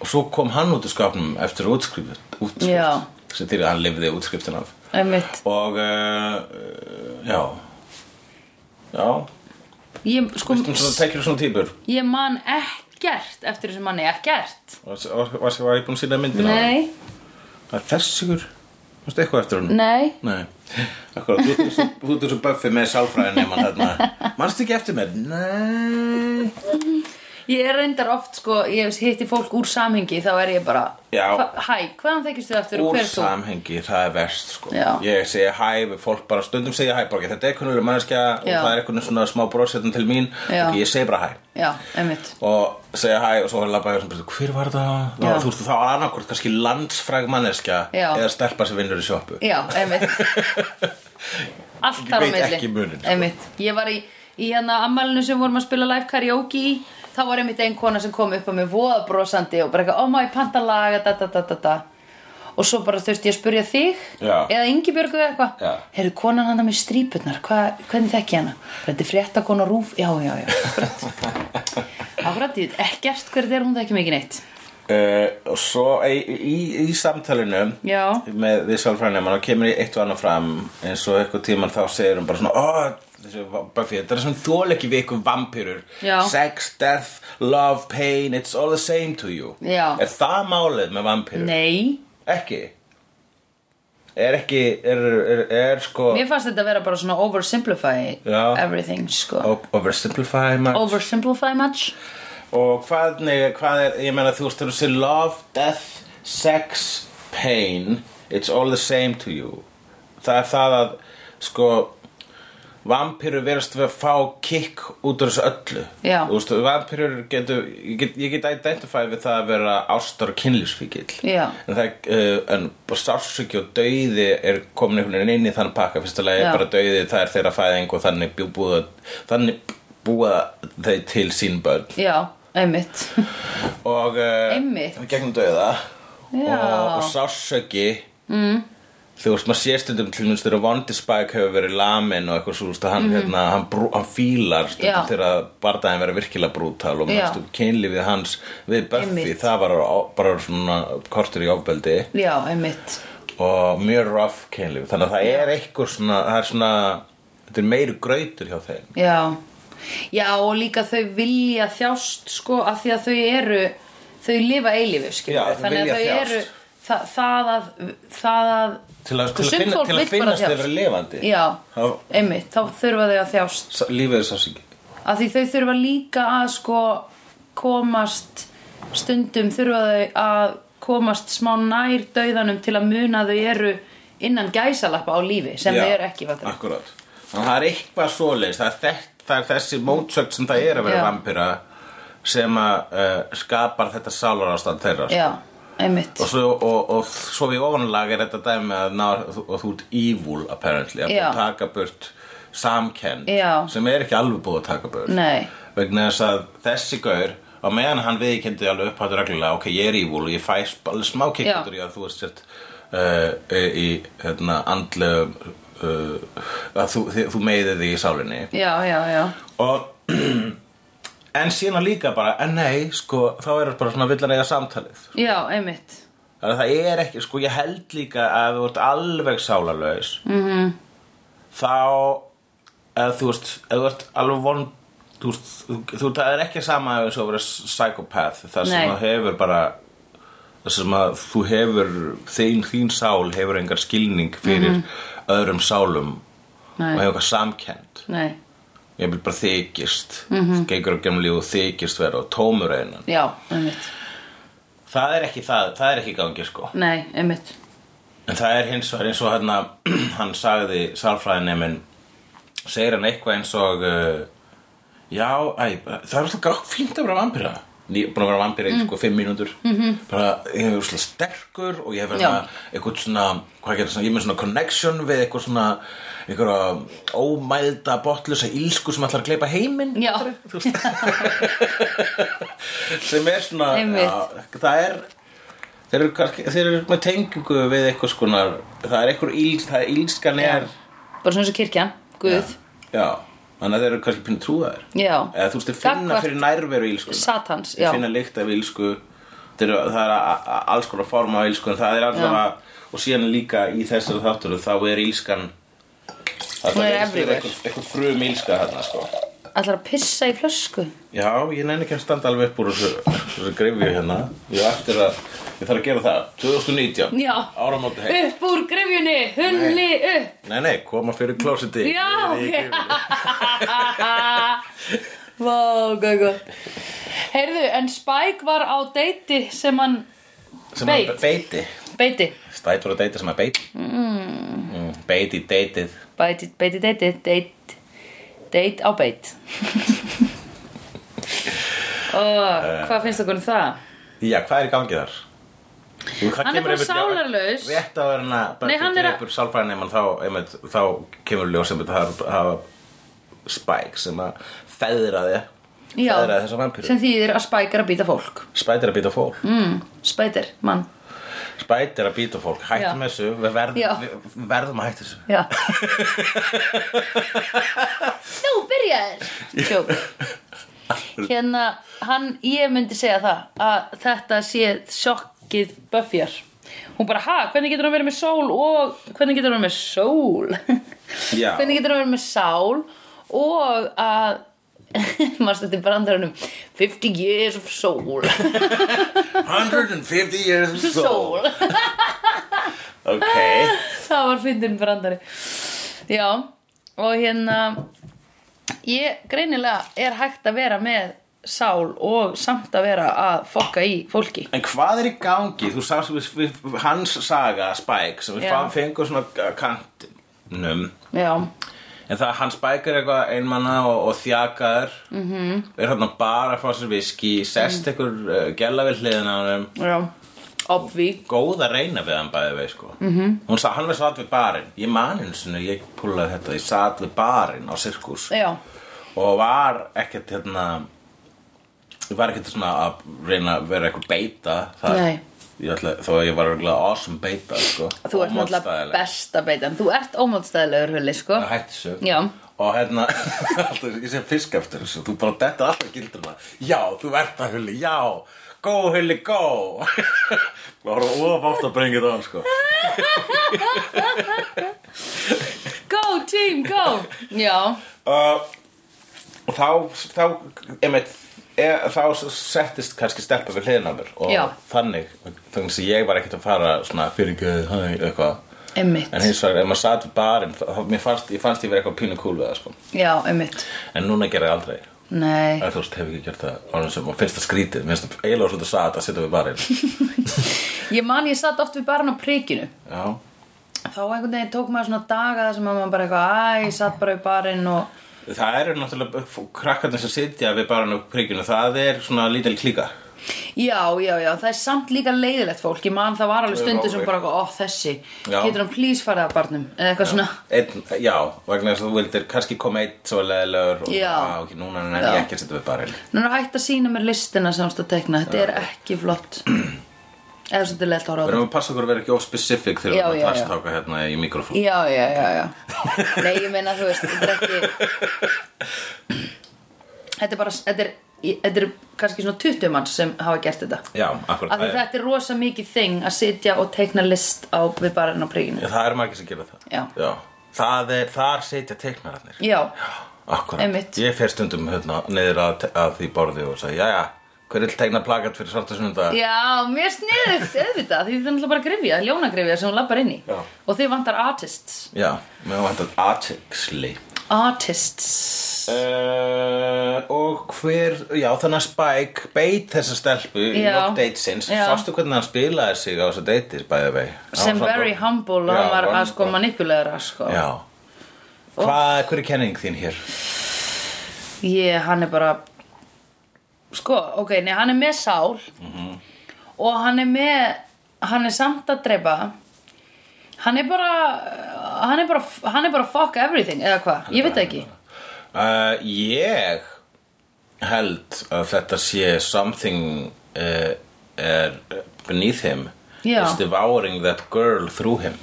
og svo kom hann út í skapnum eftir útskrift,
Já.
útskrift sem til að hann lifði útskriftin af
einmitt
og, uh, já já,
Ég, sko,
um svona tekjur svona típur
ég man ekkert eftir þessum manni, ekkert
Var, var, var, var ég búin að sína myndina?
Nei,
Það er þessugur Varstu eitthvað eftir hann?
nei
Nei Akkurat, þú ert svo- þú ert svo buffi með sálfræðin nema þarna Manstu ekki eftir mér? Nei
Ég er reyndar oft, sko, ég hitti fólk úr samhengi þá er ég bara
Já.
hva- Hæ, hvaðan þekkist þið eftir og
Úr
hver ert þú?
samhengi, það er verst sko
Já.
Ég segi hæ við fólk bara stundum segja hæ bara, Þetta er kunnulega manneskja og
Já.
það er einhvern svona smá brosetn til mín
Já.
og ég segi bara hæ
Já, einmitt
og segja hæ og svo hann labbaði og sem bara, hver var það?
Já.
Þú veist, þá var annarkvort kannski landsfræg manneskja
Já.
eða stelpa sem vinnur í sjoppu
Já, einmitt Allt þar á
Ég veit
milli
ekki muninn, sko.
Einmitt, ég var í, í hérna ammælinu sem vorum að spila live karaoke í þá var einmitt ein kona sem kom upp að mig voða brosandi og bara eitthvað, oh my pantalaga da da da da da og svo bara þurfti ég að spurja þig
Já.
eða Ingibjörgu eða
Já.
eitthvað heyrðu konan hana með strípurnar, hva, hvernig þekki ég hana Bara, þetta er frétta kona rúf, já já já akkurat, ég veit ekkert hver þetta er hún þekki mikið neitt
Uh, og svo í, í, í samtalinu
Já.
með við sálfræðinum og kemur í eitt og annað fram eins og eitthvað tíman þá segir hún bara svona oh, þessi, Buffy, þetta er svona þólegi við ykkur vampýrur
Já.
sex, death, love, pain it's all the same to you
Já.
er það málið með vampýrur?
nei,
ekki er ekki, er, er, er sko
mér fannst þetta vera bara svona oversimplify
Já.
everything sko
o- oversimplify much
oversimplify much
og hvernig, hvað er, ég meina þú veist þú sé love, death, sex, pain it's all the same to you það er það að sko vampirur verðast við að fá kikk út úr þessu öllu
Já.
Þú veist, vampirur getur ég get, ég get identify við það að vera ástar og kynlífsfíkil
Já.
en, það, uh, en sársöki og dauði er komin einhvern veginn inn í þann pakka fyrst að leiði
Já.
bara dauði það er þeirra fæðing og þannig bjú- búa, þannig búa þau til sín börn
já, einmitt
og uh,
Einmitt.
gegnum dauða
Já.
og, og sársöki mm. þú veist maður sé stundum til minnst þegar Vondi Spike hefur verið lamin og eitthvað svo þú veist, að hann, hérna, hann, brú, hann fílar
Mhm. Já.
stundum þegar bardaðin verið virkilega brútal og
Já.
mennst um kynlífið hans við Buffy
Einmitt.
það var á- bara svona kortur í ofbeldi
já, einmitt
og mjög rough kynlíf þannig að það er eitthvað svona, það er svona þetta er meiri grautur hjá þeim
Já, já og líka þau vilja þjást sko af því að þau eru, þau lifa eilífu skilur
Já,
við.
þau
þannig
vilja
að þau
þjást.
eru, það, það að, það að,
til að,
Sko,
til að,
sumt
finna,
fólk
til
vill
að
bara
finnast
þjást.
þeirra lifandi
já,
Þá-
einmitt, þá þurfa þau að þjást
Sá- lífið er sásingi
af því þau þurfa líka að sko komast stundum þurfa þau að komast smá nær dauðanum til að muna að þau eru innan gæsalappa á lífi sem þau eru ekki fattur.
Akkurát Þannig að það er eitthvað svoleiðis það er, þett, það er þessi mótsögn sem það er að vera
Já.
vampíra sem að uh, skapar þetta sálarástand þeirra sko.
Já, einmitt.
og, svo, og, og svo við ofanlag er þetta dæmi að ná, og, þú- og þú ert evil apparently að
Já.
búið að taka burt samkennd
Já.
sem er ekki alveg búið að taka burt
Nei,
vegna þess að þessi gaur á meðan hann viðkendi alveg upphættur reglulega ok, ég er evil og ég fæ sp- alveg smá
Já.
kikkutur í að þú ert sért uh, í hérna, andlegum uh, að þú, þið, þú meiðir því í sálinni
já, já, já.
og en síðan líka bara, en nei, sko þá er það bara svona villan eiga samtalið
Já, einmitt.
Þannig að það er ekki, sko ég held líka að ef þú ert alveg sálarlaus -hmm.
Mhm.
þá eða þú veist, ef þú ert alveg von þú veist, þú- þú, það er ekki sama ef þú verið psychopath það sem
Nei.
að hefur bara það sem að þú hefur þín, þín sál hefur engar skilning fyrir öðrum sálum
Mhm. Nei.
og hefur eitthvað samkennd
Nei,
ég vil bara þykist mm
Mhm.
-hmm. gengur á gemli og þykist vera og tómur einan
já, einmitt.
það er ekki það, það er ekki í gangi sko
Nei, einmitt.
En það er hins vegar eins og hérna, hann sagði sálfræðineminn, segir hann eitthvað eins og, uh, já, æ, það er alltaf gátt fínt að vera vampíra. Ég er búin að vera vampíra
Mm.
í sko fimm mínútur. -hmm. Bara, ég er svona sterkur og ég hef
Mhm. Já.
hérna eitthvað svona, hvað getur svona, ég er með svona connection við eitthvað svona, einhverja ómælda, botlusa ílsku sem ætlar að gleypa heiminn
Já,
sem er svona
Einmitt.
já, það er þeir eru, kannski- þeir eru með tengingu við eitthvað skonar það er eitthvað ílst, það er ílskan er
bara svona eins og kirkjan, Guð,
já, þannig að þeir eru kannski pínu trúðaðir
já,
eða þú veist, þeir finna
Gagnvart-
fyrir nærveru ílskunar
Satans, já,
þeir finna lykt af ílsku þeir, eru- það er a- a- alls konar form af ílsku en það er alltaf að, og síðan líka í þessari þáttur þá er ílskan það
Hún er
virðist vera
everywhere.
eitthvað, eitthvað frum ílska þarna sko
ætlar að pissa í flösku.
Já, ég nenni ekki að standa alveg upp úr þessu, þessu greifju hérna Ég á eftir að, ég þarf að gera það 2019,
Já.
áramóti heim
Upp úr grefjunni, hulli upp,
Nei, nei, koma fyrir klósiti
já, Vá, hvað gott. Heyrðu, en Spike var á deiti sem hann,
Sem að
Beit.
beiti
beiti,
Stætur að deita sem að beiti mm. Mm, Beiti, deitið
beiti, beiti, deiti, deit, deit á beit. Og hvað finnst okkur um það?
Já, hvað er í gangi þar? Jú, hvað
Hann er
kemur
bara
einmitt-
sálarlaus.
Rétt á hérna,
Nei,
bara
hann
fyrir
er að-
uppur sálfræðinemann þá, einmitt, þá kemur ljós sem þetta hafa spæk sem að feðraði
Já,
feðraði þessa vampíru
sem þýðir að Spike er að býta fólk.
Spætir að býta fólk
Mm, Spider, mann
Spæt er að býta fólk,
Já.
hættum þessu, við
Já.
verðum, við verðum að hætta þessu.
Já Þú byrjaðir Sjók Hérna, hann, ég myndi segja það að þetta sé sjokkið Buffyar Hún bara, ha, hvernig getur hann verið með sól og hvernig getur hann verið með sól
Já.
Hvernig getur hann verið með sál og að Marstu til brandarunum 50 years of soul
150 years of soul.
Soul
Ok,
það var fyndin brandari já og hérna ég greinilega er hægt að vera með sál og samt að vera að fokka í fólki
en hvað er í gangi? Þú sást við, við hans saga, Spike, sem við
Já.
fann fengum svona uh, kantinum,
já,
En það hann spækar eitthvað einmanna og, og þjakaður mm -hmm. Er hann bara að fá sér viski Sest mm. ykkur uh, gæla við hliðina á hann
Já, obvi
Góð að reyna við hann bæði veið sko mm -hmm. Hún sa, hann var satt við barinn Ég man einu sinni, ég púlaði þetta Ég satt við barinn á sirkus
Já,
Og var ekkert hérna Ég var ekkert svona að reyna að vera eitthvað beita þar.
Nei.
Ég ætla, Þó að ég var örugglega awesome beita
þú
sko
ert náttúrulega
Ómótstæðileg.
besta beitan Þú ert ómótstæðilegur hulli, sko
að hætti þessu
Já.
og hérna, alltaf, ég sem fisk eftir þessu þú bara dettar alltaf gildur það já, þú ert að hulli, já go hulli, go og það var of oft að brengi það sko.
Go team, go Já,
uh, og þá þá, einmitt E, þá settist kannski stelpa við hliðin á mér og
Já.
þannig, þannig að ég var ekkert að fara svona fyrir göðu, hæ, eitthvað
einmitt
en hins vegar, ef maður satt við barinn þá, þá- mér fannst, ég fannst ég verið eitthvað pínu kúl við það sko.
Já, einmitt
en núna gerði ég aldrei
Nei,
Æ, þú veist, hef ekki gert það ánum sem og finnst það skrítið, mér finnst það eiginlega svolítið satt að setja við barinn.
ég man ég satt oft við barinn á prikinu
Já,
Þá einhvern veginn tók maður svona daga þar sem að maður bara eitthvað Æ, ég satt bara við barinn og
það eru náttúrulega f- krakkarnir sem sitja við barinn á prikinu, það er svona lítil klíka.
Já, já, já, það er samt líka leiðilegt fólk Ég man það var alveg stundu sem bara eitthvað, ó, þessi
Já.
Getur hann please farið að barnum Eða eitthvað svona
Einn, já, vegna þess að þú vildir kannski koma einn svo leðilegur og
Já.
"Ah, ok, núna er
Já.
ég ekki að setja við barinn.
Nú er hægt að sína mér listina sem ást að tekna Þetta er ekki flott Eða svolítið leitt að
Við
horfa á það
erum að passa okkur að vera ekki of specific þegar
Já,
við erum
já,
að
já.
tastáka hérna í mikrofón.
Já, já, já, já Nei, ég meina, þú veist, þetta er ekki Þetta er bara, þetta er, þetta er kannski svona 20 manns sem hafa gert þetta
Já, akkurat.
Af því
Það, er-
þetta er rosa mikið þing að sitja og tekna list á við barinn á príkinu
Já, það er margir sem gera það.
Já.
Það er, þar sitja teiknararnir.
Já,
Akkurat,
Einmitt.
ég fer stundum hérna niður að, að því borði og sagði, jæja, hver vil tegna plakat fyrir svarta sunnunda?
Já, mér sniðugt, auðvitað, því þið er náttúrulega bara grifja, ljónagrifja sem hún lappar inn í.
Já.
Og þið vantar artists.
Já, mér var þetta aðtexli.
Artists.
Uh, og hver, já, þannig að Spike beit þessa stelpu í
Já.
lok datesins.
Já.
Sástu hvernig hann spilaði sig á þessu datis, by the way?
sem very humble,
Já,
hann var
var-
að sko manipulegur að sko.
Já. Hvað, hver er kenning þín hér?
Ég, hann er bara, sko, ok, nei, hann er með sál
Mhm.
og hann er með, hann er samt að drepa, hann er bara, hann er bara, hann er bara fuck everything, eða hvað, ég veit það ekki.
Uh, ég held að þetta sé something uh, er beneath him
Já.
is devouring that girl through him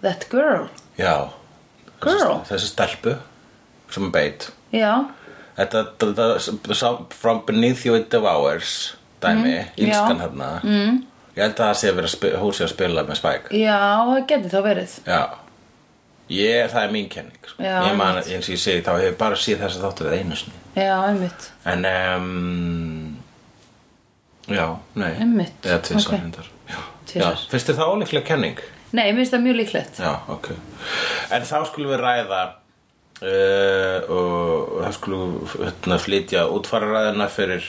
That girl,
Já
Girl?
Þessi- Þessi stelpu sem er beit
já, þetta
Þetta, þetta, þetta from beneath you it devours dæmi,
Mhm, já. Mhm.
ílskan hérna mm. Ég held að það sé að vera að spi- hún sé að spila með Spike
Já, það geti þá verið
Já Ég, það er mín kenning sko.
Já,
Ég man,
einmitt.
eins og ég segi, þá hefur bara séð þess að þáttu við einu sinni
Já, einmitt
En um, Já, nei
Einmitt,
Eða tvisar
ok.
okay. hendar Já,
Tvisvar.
já finnst þér það ólíklega kenning?
Nei, mér finnst það mjög líklegt
Já, ok En þá skulum við ræða uh, og þá skulum við hérna, flytja útfararæðina fyrir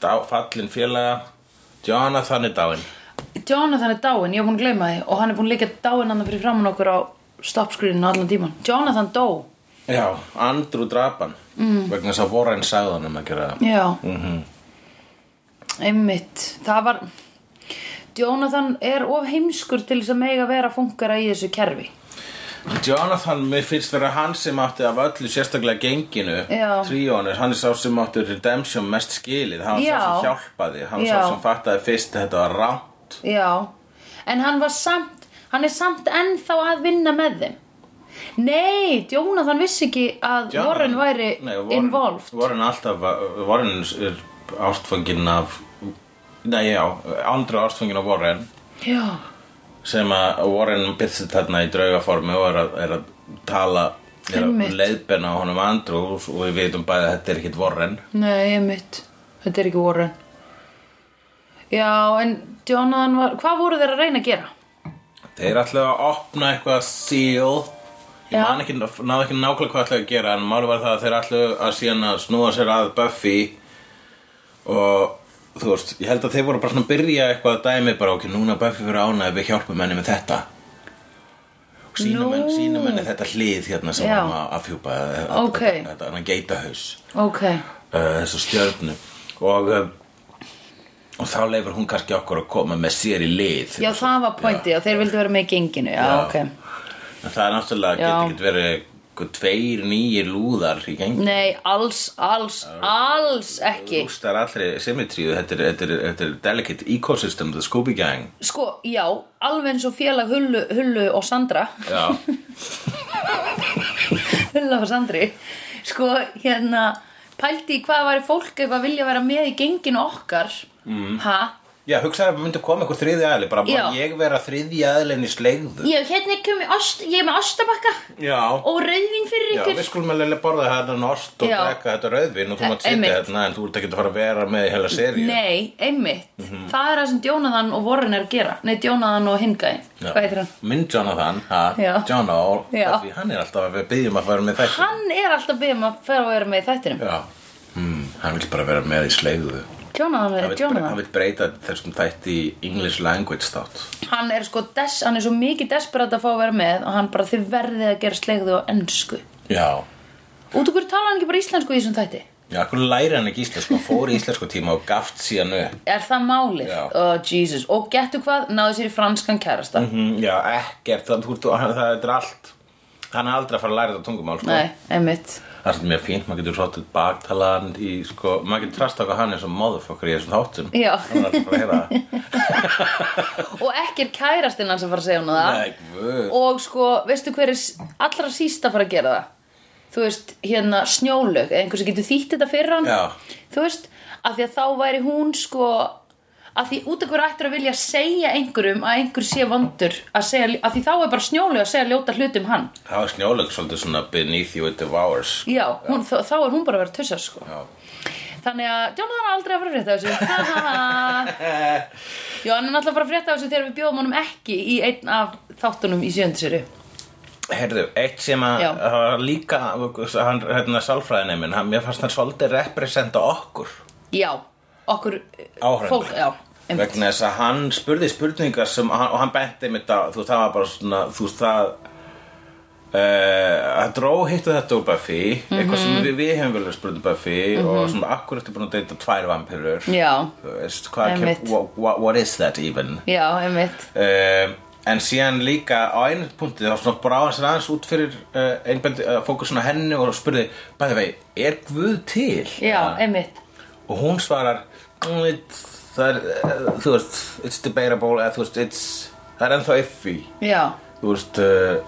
dá, fallin félaga Jonathan er dáinn
Jonathan er dáinn, ég er búin að gleyma því Og hann er búin að líka dáinn andan fyrir framann okkur á stoppscreeninu allan tíman Jonathan dó
Já, Andrew Drapan mm. vegna þess að Warren sagði hann um að gera það
Já Einmitt, það var Jonathan er of heimskur til þess að mega vera funkara í þessu kerfi
Jonathan, mér finnst vera hann sem átti af öllu sérstaklega genginu
Já.
tríónir, hann er sá sem átti Redemption mest skilið, hann var
Já.
sá sem hjálpaði hann var
Já.
sá sem fattaði fyrst að þetta var rámt
Já, en hann var samt Hann er samt ennþá að vinna með þeim Nei, Jonathan vissi ekki að Warren væri involved
Warren alltaf, var- Warren er ástfangin af nei já, andru ástfangin af Warren
Já,
sem að Warren byrðið þarna í draugaformi og er að, er að tala er
Einmitt.
að leiðbenna á honum andru og við veitum bæði að þetta er ekkit Warren
Nei, einmitt. Þetta er ekki Warren. Já, en Jonathan var... Hvað voru þeir að reyna að gera?
Þeir ætlaðu að opna eitthvað seal Ég
Já.
man ekki, náðu ekki nákvæmlega hvað ætlaðu að gera En máli var það að þeir ætlaðu að síðan að snúa sér að Buffy Og þú veist, ég held að þeir voru bara svona að byrja eitthvað að dæmi Bara ok, núna Buffy fyrir ánæði, við hjálpum henni með þetta
Nú.
sínum, no. sínum henni þetta hlið hérna sem
Já.
hann var að fjúpa
Ok.
þetta, þetta hann geitahaus
ok,
uh, þessa stjörnu og, uh, og þá leifur hún kannski okkur að koma með sér í lið
já það var pointi já, þeir vildu vera með í genginu, já,
Já.
ok
en það er náttúrulega
Já.
getur ekki verið einhver tveir nýjir lúðar í gengi
nei, alls, alls, alls ekki
rústar allri symmetríu þetta er, þetta, er, þetta er delicate ecosystem the Scooby Gang
sko, já, alveg eins og félag Hullu, Hullu og Sandra
já,
Hulla og Sandri sko, hérna pældi í hvað væri fólk ef að vilja vera með í genginu okkar mm. ha,
já hugsaði að myndi koma einhver þriði aðli bara
Já.
má ég vera þriði aðlinn í sleigðu
ég, hérna er komin ost, ég er með ostabakka
já,
og rauðvín fyrir
Já,
ykkur
við skulum alveg borða þetta norst og
Já.
drekka þetta rauðvin og þú mátt sitja
Einmitt.
hérna en þú ert ekki að fara að vera með í heila seríu.
Nei, einmitt.
Mhm.
Það er það sem Djónaðan og Warren er að gera. Nei, Djónaðan og Hingaði.
Já.
Hvað heitir hann?
Minn Jonathan, ha,
Já.
John All,
Já.
því hann er alltaf að við byggjum að fara með þetta.
Hann er alltaf beðið um að fara að vera með í þættinum.
Já, mm, hann vil bara vera með í sleigðu.
Djónaðan
Hann
er
vill bre- hann
Djónaðan.
vill breyta þessum þætti í English language þátt.
Hann er sko des, hann er svo mikið desperat að fá að vera með og hann bara þið verðið að gera slegðu á ennsku.
Já,
Út okkur tala hann ekki bara íslensku í þessum þætti?
já, hvernig læri hann ekki íslensku, hann fór í íslensku tíma og gaft síðan upp.
Er það málið?
Já.
Oh, Jesus. Og getur hvað? Náðu sér í franskan kærasta.
Mm, já, ekkert, það, þú, ert- hann- það er allt. Hann er aldrei að fara að læra þetta tungumál, sko.
Nei, einmitt.
Það er svolítið mjög fínt, maður getur svolítið baktalan í, sko, maður getur trasta okkar hann eins og motherfucker í þessum þáttum.
Já.
Það er alltaf bara að heyra það.
Og ekki er kærastinn hans að fara að segja hún það.
Nei, guð.
og sko, veistu hver er s- allra síst að fara að gera það þú veist, hérna snjólög eða einhver sem getur þýtt þetta fyrir hann
Já.
þú veist, af því að þá væri hún sko af því út af hverju ættir að vilja segja einhverjum að einhver sé vondur að segja, af því þá er bara snjólög að segja ljóta hlut um hann
Það var snjóleg svolítið svona beneath you it devours.
já, hún, þá, þá er hún bara að vera tussar sko
Já.
þannig að Jonathan er aldrei að fara að frétta af þessu Ha, ha, ha. já, hann er náttúrulega að fara að frétta af þessu þegar við bjóðum honum ekki í einn af þáttunum í sjöndisöru
Herðu, eitt sem að
Já.
það var líka, hann, hérna, sálfræðinemin, hann, mér fannst hann svolítið representa okkur.
já, okkur eh,
Áhrærendur.
fólk, já, einmitt.
Vegna þess að hann spurði spurningar sem, og hann- og hann benti einmitt á, þú veist, það var bara svona, þú veist, það, uh, hann dró hittu þetta úr Buffy, eitthvað
Mhm.
sem við, við hefum vel spurði Buffy og svona, akkur ertu búin að deyta tvær vampirur?
Já.
Þú veist, hvað kem,
Einmitt.
what, what, what is that even?
Já, einmitt
Um, en síðan líka á einu punkti þá svona brá hans aðeins út fyrir uh, einbendi, uh, fókusuna á henni og spurði bæði vei, er Guð til?
Já, einmitt
og hún svarar "Mm, it, það er, eh, þú veist, it's debatable eða þú veist, it's, það er ennþá iffy
Já,
þú veist uh,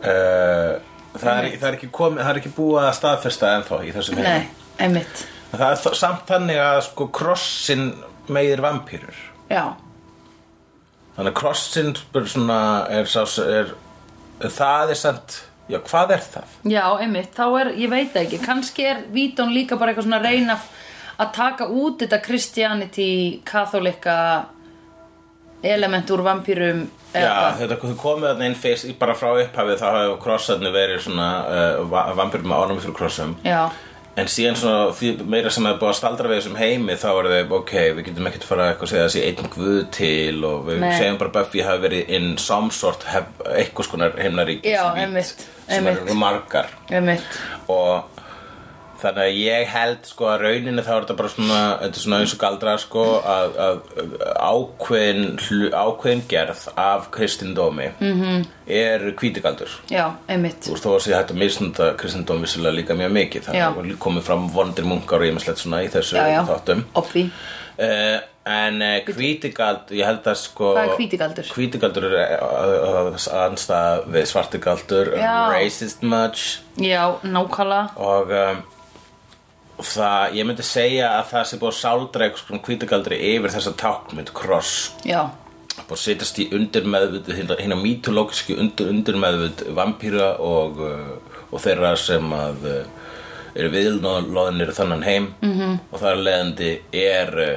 uh, það, er, það er ekki komið, það er ekki búið að staðfesta ennþá í þessum
nei,
heimi.
einmitt
það er þó- samt þannig að sko krossin meðir vampýrur
Já,
þannig að krossin er svona er, sá- er, það er samt já, hvað er það?
já, einmitt Þá er, ég veit það ekki, kannski er Vítón líka bara eitthvað svona að reyna að taka út þetta Christianity katholika element úr vampýrum
Já, þetta þau komið þarna inn fyrst í- bara frá upphafið þá hefur krossarnir verið svona uh, vampyrum með ánum fyrir krossum
já,
En síðan svona, því meira sem hefur búið að staldra við þessum heimi þá er þau, ok, við getum ekkert fara að eitthvað segja þessi einn guð til og við
Nei.
segjum bara Buffy hafi verið in some sort hef, eitthvað skonar heimnaríki
Já, einmitt,
sem
einmitt.
eru margar
einmitt
og þannig að ég held sko að rauninni þá er þetta bara svona, þetta er svona eins og galdra sko að, að ákveðin, hlu- ákveðin gerð af kristindómi
Mhm.
-hmm. er hvítigaldur
Já, einmitt
Þú veist þó að sé hægt að misnunda kristindóm vissulega líka mjög mikið
Já.
þannig að komið fram vondir munkar og ýmislegt svona í þessu
Já, já,
þáttum
obvi
uh, en uh, hvítigald ég held að sko
Hvað er hvítigaldur?
hvítigaldur er eh, að- að- að anstað við svartigaldur
Já.
racist much
Já, nákala
og um, það, ég myndi segja að það sé búið að sáldra eitthvað hvítigaldri yfir þessa tákmynd kross
Já,
og setjast í undirmeðvut hérna mítológiski undir, undirmeðvut vampýra og, uh, og þeirra sem að uh, eru viðlóðinir þannan heim
Mhm.
-hmm. og þar leðandi er uh,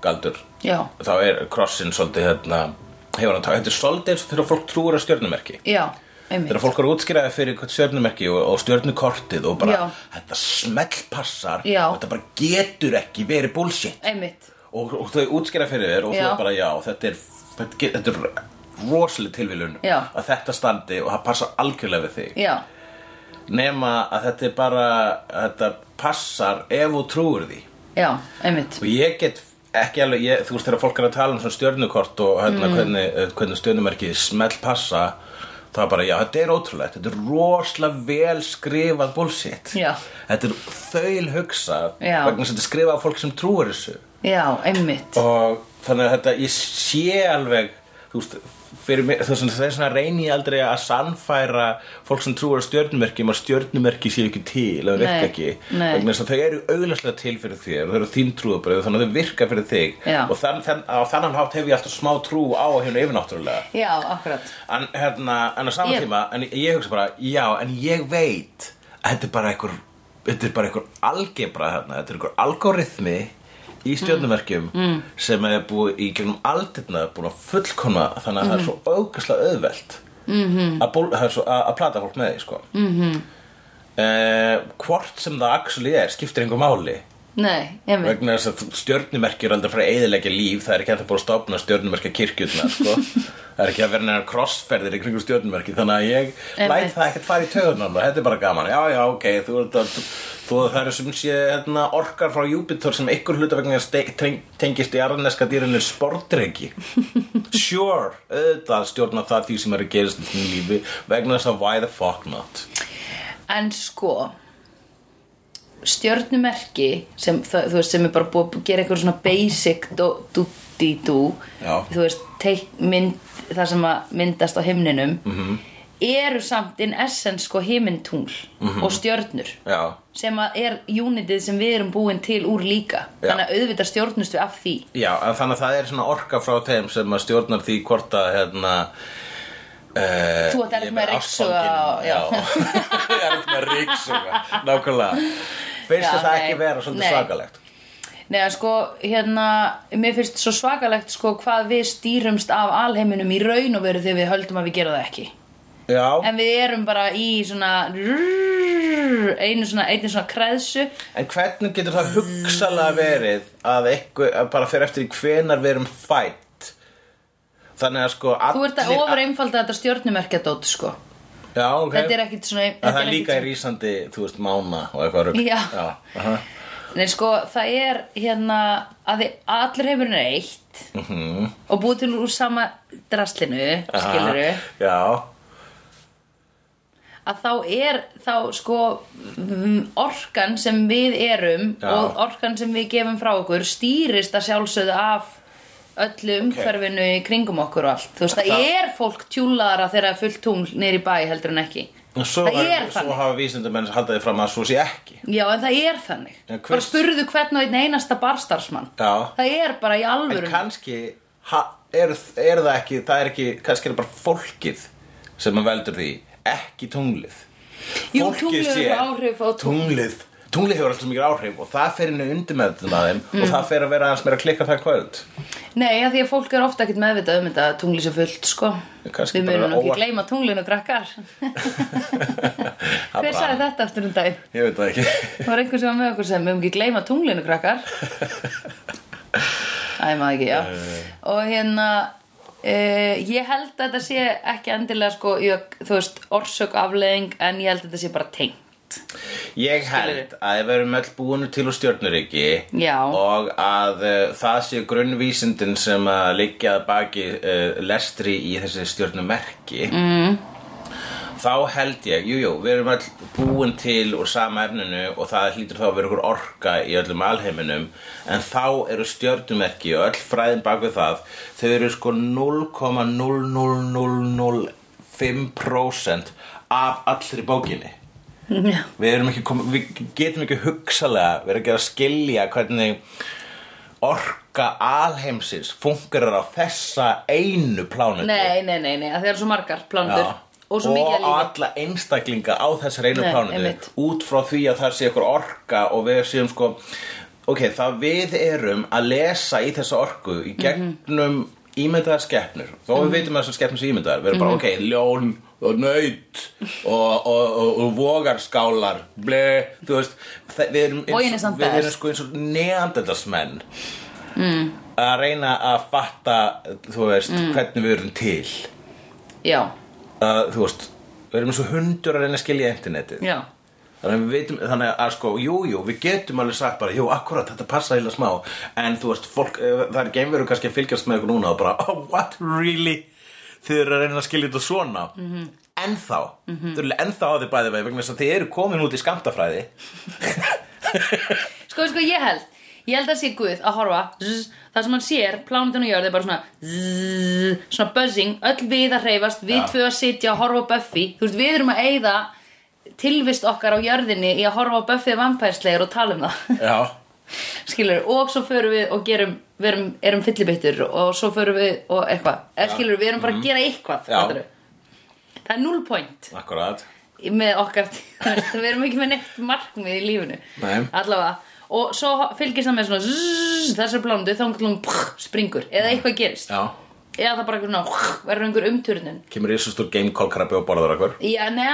galdur
já,
þá er krossin svolítið hérna hefur hann tætt, þetta er svolítið eins og þegar fólk trúur að stjörnumerki
já, einmitt
þegar fólk er útskýraði fyrir hvert stjörnumerki og, og stjörnukortið og bara
Já.
þetta smellpassar
Já.
og þetta bara getur ekki verið bullshit
Einmitt,
og, og þau útskýra fyrir þér og þú
Já.
er bara já, þetta er, þetta, ge- þetta er rosaleg tilvílun
Já.
að þetta standi og það passa algjörlega við þig
já,
nema að þetta er bara þetta passar ef þú trúir því
já, einmitt
og ég get ekki alveg, ég, þú veist þegar fólk er að tala um svona stjörnukort og hérna,
Mm.
hvernig, eh, hvernig stjörnumerkið smelt passa þá er bara, já, þetta er ótrúlegt þetta er rosalega vel skrifað bullshit
Já.
þetta er þaul hugsað
Já.
vegna þess að þetta er skrifað af fólk sem trúir þessu
Já, einmitt
og þannig að þetta, ég sé alveg þú veist, fyrir mig, þú veist, þess vegna reyni ég aldrei að sannfæra fólk sem trúar á stjörnumerkjum að stjörnumerki séu ekki til eða virka
Nei,
ekki
nei.
vegna þess að þau eru auðlagslega til fyrir þér og þau eru þín trúabröð þannig að þau virka fyrir þig
Já.
og þann, þann, á þannan hátt hef ég alltaf smá trú á hérna yfirnáttúrulega
Já, akkurat
en, hérna, en á saman
Ég-
tíma en ég hugsa bara, já, en ég veit að þetta er bara einhver þetta er bara einhver algebra hérna, þetta er einhver algoritmi í stjörnumerkjum mm. sem er búið í gegnum aldirna búin að fullkona þannig að það er svo auðgæslega auðvelt mm -hmm. að, ból, það er svo, að, að plata fólk með því sko. mm hvort sem það actually er, skiptir einhver máli
Nei, einmitt
vegna þess að stjörnumerki er aldrei að fara að eðilegja líf það er ekki hægt að búið að stopna stjörnumerka kirkjurnar sko. það er ekki að vera neina krossferðir í kringu stjörnumerki þannig að ég læt
Einmitt.
það ekkert fara í töðunan þetta er bara gaman, já já ok þú, ert að- þú það eru sem sé hérna, orkar frá Júpiter sem ykkur hluta vegna ste- teng- tengist í arneska dýrinu sportreiki sure, auðvitað stjórna það því sem er að gerast í þínu lífi vegna þess að why the fuck not
En sko stjörnumerki sem, það, þú veist, sem er bara búið að gera eitthvað svona basic do-di-do
Já.
þú veist, teik, mynd, það sem að myndast á himninum
Mhm.
-hmm. eru samt in essence sko himintungl
Mhm.
og stjörnur
já,
sem að er unitið sem við erum búin til úr líka
Já.
þannig að auðvitað stjórnust við af því
Já, en þannig að það er svona orka frá þeim sem að stjórnar því hvort að hérna Uh,
Þú ert erfitt með að ryksuga og-
Já,
já.
ég er ekkert með að ryksuga Nákvæmlega Finnst
Já,
þér það
nei,
ekki vera svolítið
nei.
svakalegt
Nei, að sko, hérna, mér finnst svo svakalegt sko hvað við stýrumst af alheiminum í raun og veru þegar við höldum að við gera það ekki
Já, en,
En við erum bara í svona einu svona, einu svona kreðsu
hvernig getur það hugsalega verið að eitthvað, að bara fyrir eftir í hvenar við erum fætt Þannig að sko
Þú ert að
allir-
ofur einfalda þetta stjörnumerkjadót sko
Já, ok
Þetta er ekkit svona
En
þetta
það er
ekkit
líka í rísandi, þú veist, mána og eitthvað rugg
Já.
Já, aha.
svona- Nei sko, það er hérna að þið allir heimurinn er eitt -hmm. og búið til úr sama draslinu,
Aha.
skiluru
Já,
að þá er þá sko mm, orkan sem við erum
Já.
og orkan sem við gefum frá okkur stýrist að sjálfsögðu af öllu umhverfinu í kringum okkur og allt, þú veist, það,
Það-
er fólk tjúlaðara þegar það er fullt tungl niður í bæ heldur en ekki,
En Svo,
það
var,
er
svo
þannig
hafa vísindamenn haldið fram að svo sé ekki
já en það er þannig,
En hvers-
bara spurðu hvern og einn einasta barstarfsmann,
Já.
það er bara í
En
alvöru
kannski ha, er, er það ekki, það er ekki, kannski er bara fólkið sem að veldur því, ekki tunglið
Jú,
Fólkið
tunglið hefur
sér-
áhrif á tungl.
Tunglið, tunglið hefur alltaf mikið áhrif og það fer inn í undirmeðum að þeim
Mm.
og það fer að vera aðeins meira að klikka það kvöld
nei, að því að fólk er ofta ekkert meðvitað um þetta að tungli sé fullt, sko
Kannski
við
bara
munum ekki
óvart-
gleyma tunglinu krakkar
Hver
hver sagði þetta aftur um daginn?
Ég veit það ekki
Það var einhver sem var með okkur sem við höfum ekki gleyma tunglinu krakkar Æ, maður ekki, já Og hérna uh, Ég held að þetta sé ekki endilega sko, ég, þú veist, orsök afleðing en ég held að þetta sé bara tengt
Ég held
Skilurðu?
að við erum öll búinu til úr stjórnuríki
Já.
og að uh, það sé grunnvísindin sem að liggja að baki uh, lestri í þessi stjórnumerki mm. þá held ég, jú, jú, við erum öll búin til úr sama efninu og það hlýtur þá að vera okkur orka í öllum alheiminum en þá eru stjórnumerki og öll fræðin bak við það þau eru sko 0,00005% af allri bókinni
Já,
við, erum ekki kom, við getum ekki hugsalega við erum ekki að skilja hvernig orka alheimsins fungerar á þessa einu plánutu
Nei, nei, nei, nei, að það eru svo margar plándur
Já.
Og svo mikið að
á
líka
alla einstaklinga á þessar einu
Nei, einmitt.
plánutu út frá því að það sé ykkur orka og við séum sko ok, það við erum að lesa í þessa orku
Mhm.
í gegnum mm ímyndaðar skepnur þó við vitum að þessar skepnur sé ímyndaðar við
Mhm.
erum bara ok, ljón og nöyt og, og, og, og vogarskálar ble, þú veist það, við erum,
Vogin er samt
við
best. Mhm.
erum sko eins og neandertalsmenn mm. að reyna að fatta þú veist, hvernig við erum til
já,
að, þú veist, við erum eins og hundur að reyna að skilja internetið
já,
þannig að, við vitum, þannig að sko, jú, jú, við getum alveg sagt bara, jú, akkurat, þetta passa heila smá en þú veist, fólk, eh, það er geimveru kannski að fylgjast með ykkur núna og bara oh, what, really, þið eru að reyna að skilja þetta svona mm
Mhm.
-hmm. ennþá, mm -hmm. þau eru ennþá á því bæði vegi vegna þess að þið eru komin út í skamtafræði
sko, sko, ég held ég held að sé Guð að horfa zzz, það sem hann sér, plánutinu jörð er bara svona zzz, svona buzzing, öll við að hreyfast við
Já.
tvö að sitja að horfa á Buffy þú veist, við erum að eyða tilvist okkar á jörðinni í að horfa á Buffy vampærslegar og tala um það
já,
skilur, og svo förum við og gerum, við erum, erum fyllibittur og svo förum við og eitthvað, eða skilur, við erum bara að gera eitthvað,
Mhm. Já.
fattarðu? það er null point
akkurat
með okkar við erum ekki með neitt markmið í lífinu
Nei.
allavega og svo fylgist það með svona zzz, þessar blándu þá hún springur eða eitthvað gerist
já,
eða það bara einhver svona, verður einhver umturnun
kemur í svo stór gamekólkrabbi og borðar okkur
já, ná,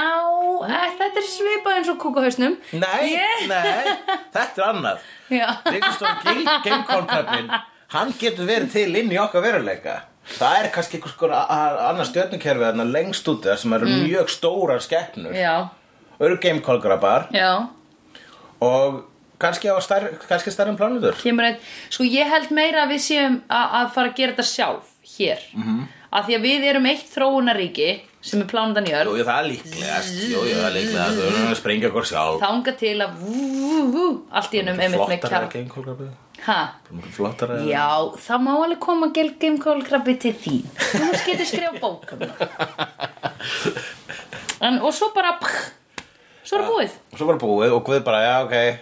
eh, þetta er svipað eins og kúkahausnum
nei,
Ég-
nei, þetta er annað
já,
Ríkustór Gamekólkrabbin hann getur verið til inn í okkar veruleika það er kannski einhvers konar annar stjörnukerfi þarna lengst út það sem eru mjög stórar skeppnur
Mm. já,
eru Gamekólkrabbar
já
og kannski á stærri, kannski stærri plánutur
kemur einn, sko ég held meira að við séum a- að fara að gera þetta sjálf hér,
Mhm.
-hmm. af því að við erum eitt þróunaríki sem er plánundan í
Jú,
örn
jú, það er líklegast, jú, jú, það er líklegast, við erum að springa okkur sjálf.
þanga til að vú, vú, vú, allt í hennum einmitt með
Flottara
kjá
geimkólkrabbið,
ha,
flottara...
Já, það má alveg koma gelgimkólkrabbi til þín Þú veist getur skrifa bókum en, Og svo bara pff, Svo er búið
Svo bara búið og Guð bara, já, ok,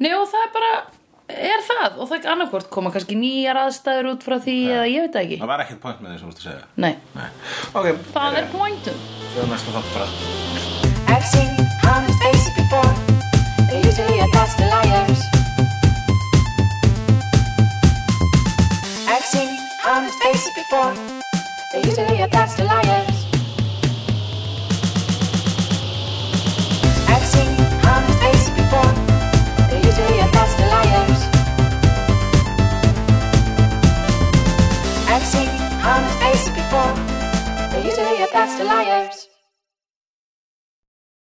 Nei og það er bara Er það og það er annarkvort koma kannski nýjar aðstæður út frá því eða ég veit það ekki
það var ekkert point með því sem þú ert að segja.
Nei,
Nei. Ok,
það er pointum
Sjáum næsta þátt bara.
I've seen honest faces before. They're usually a pass to liars. I've seen honest faces before. They're usually a pass to liars.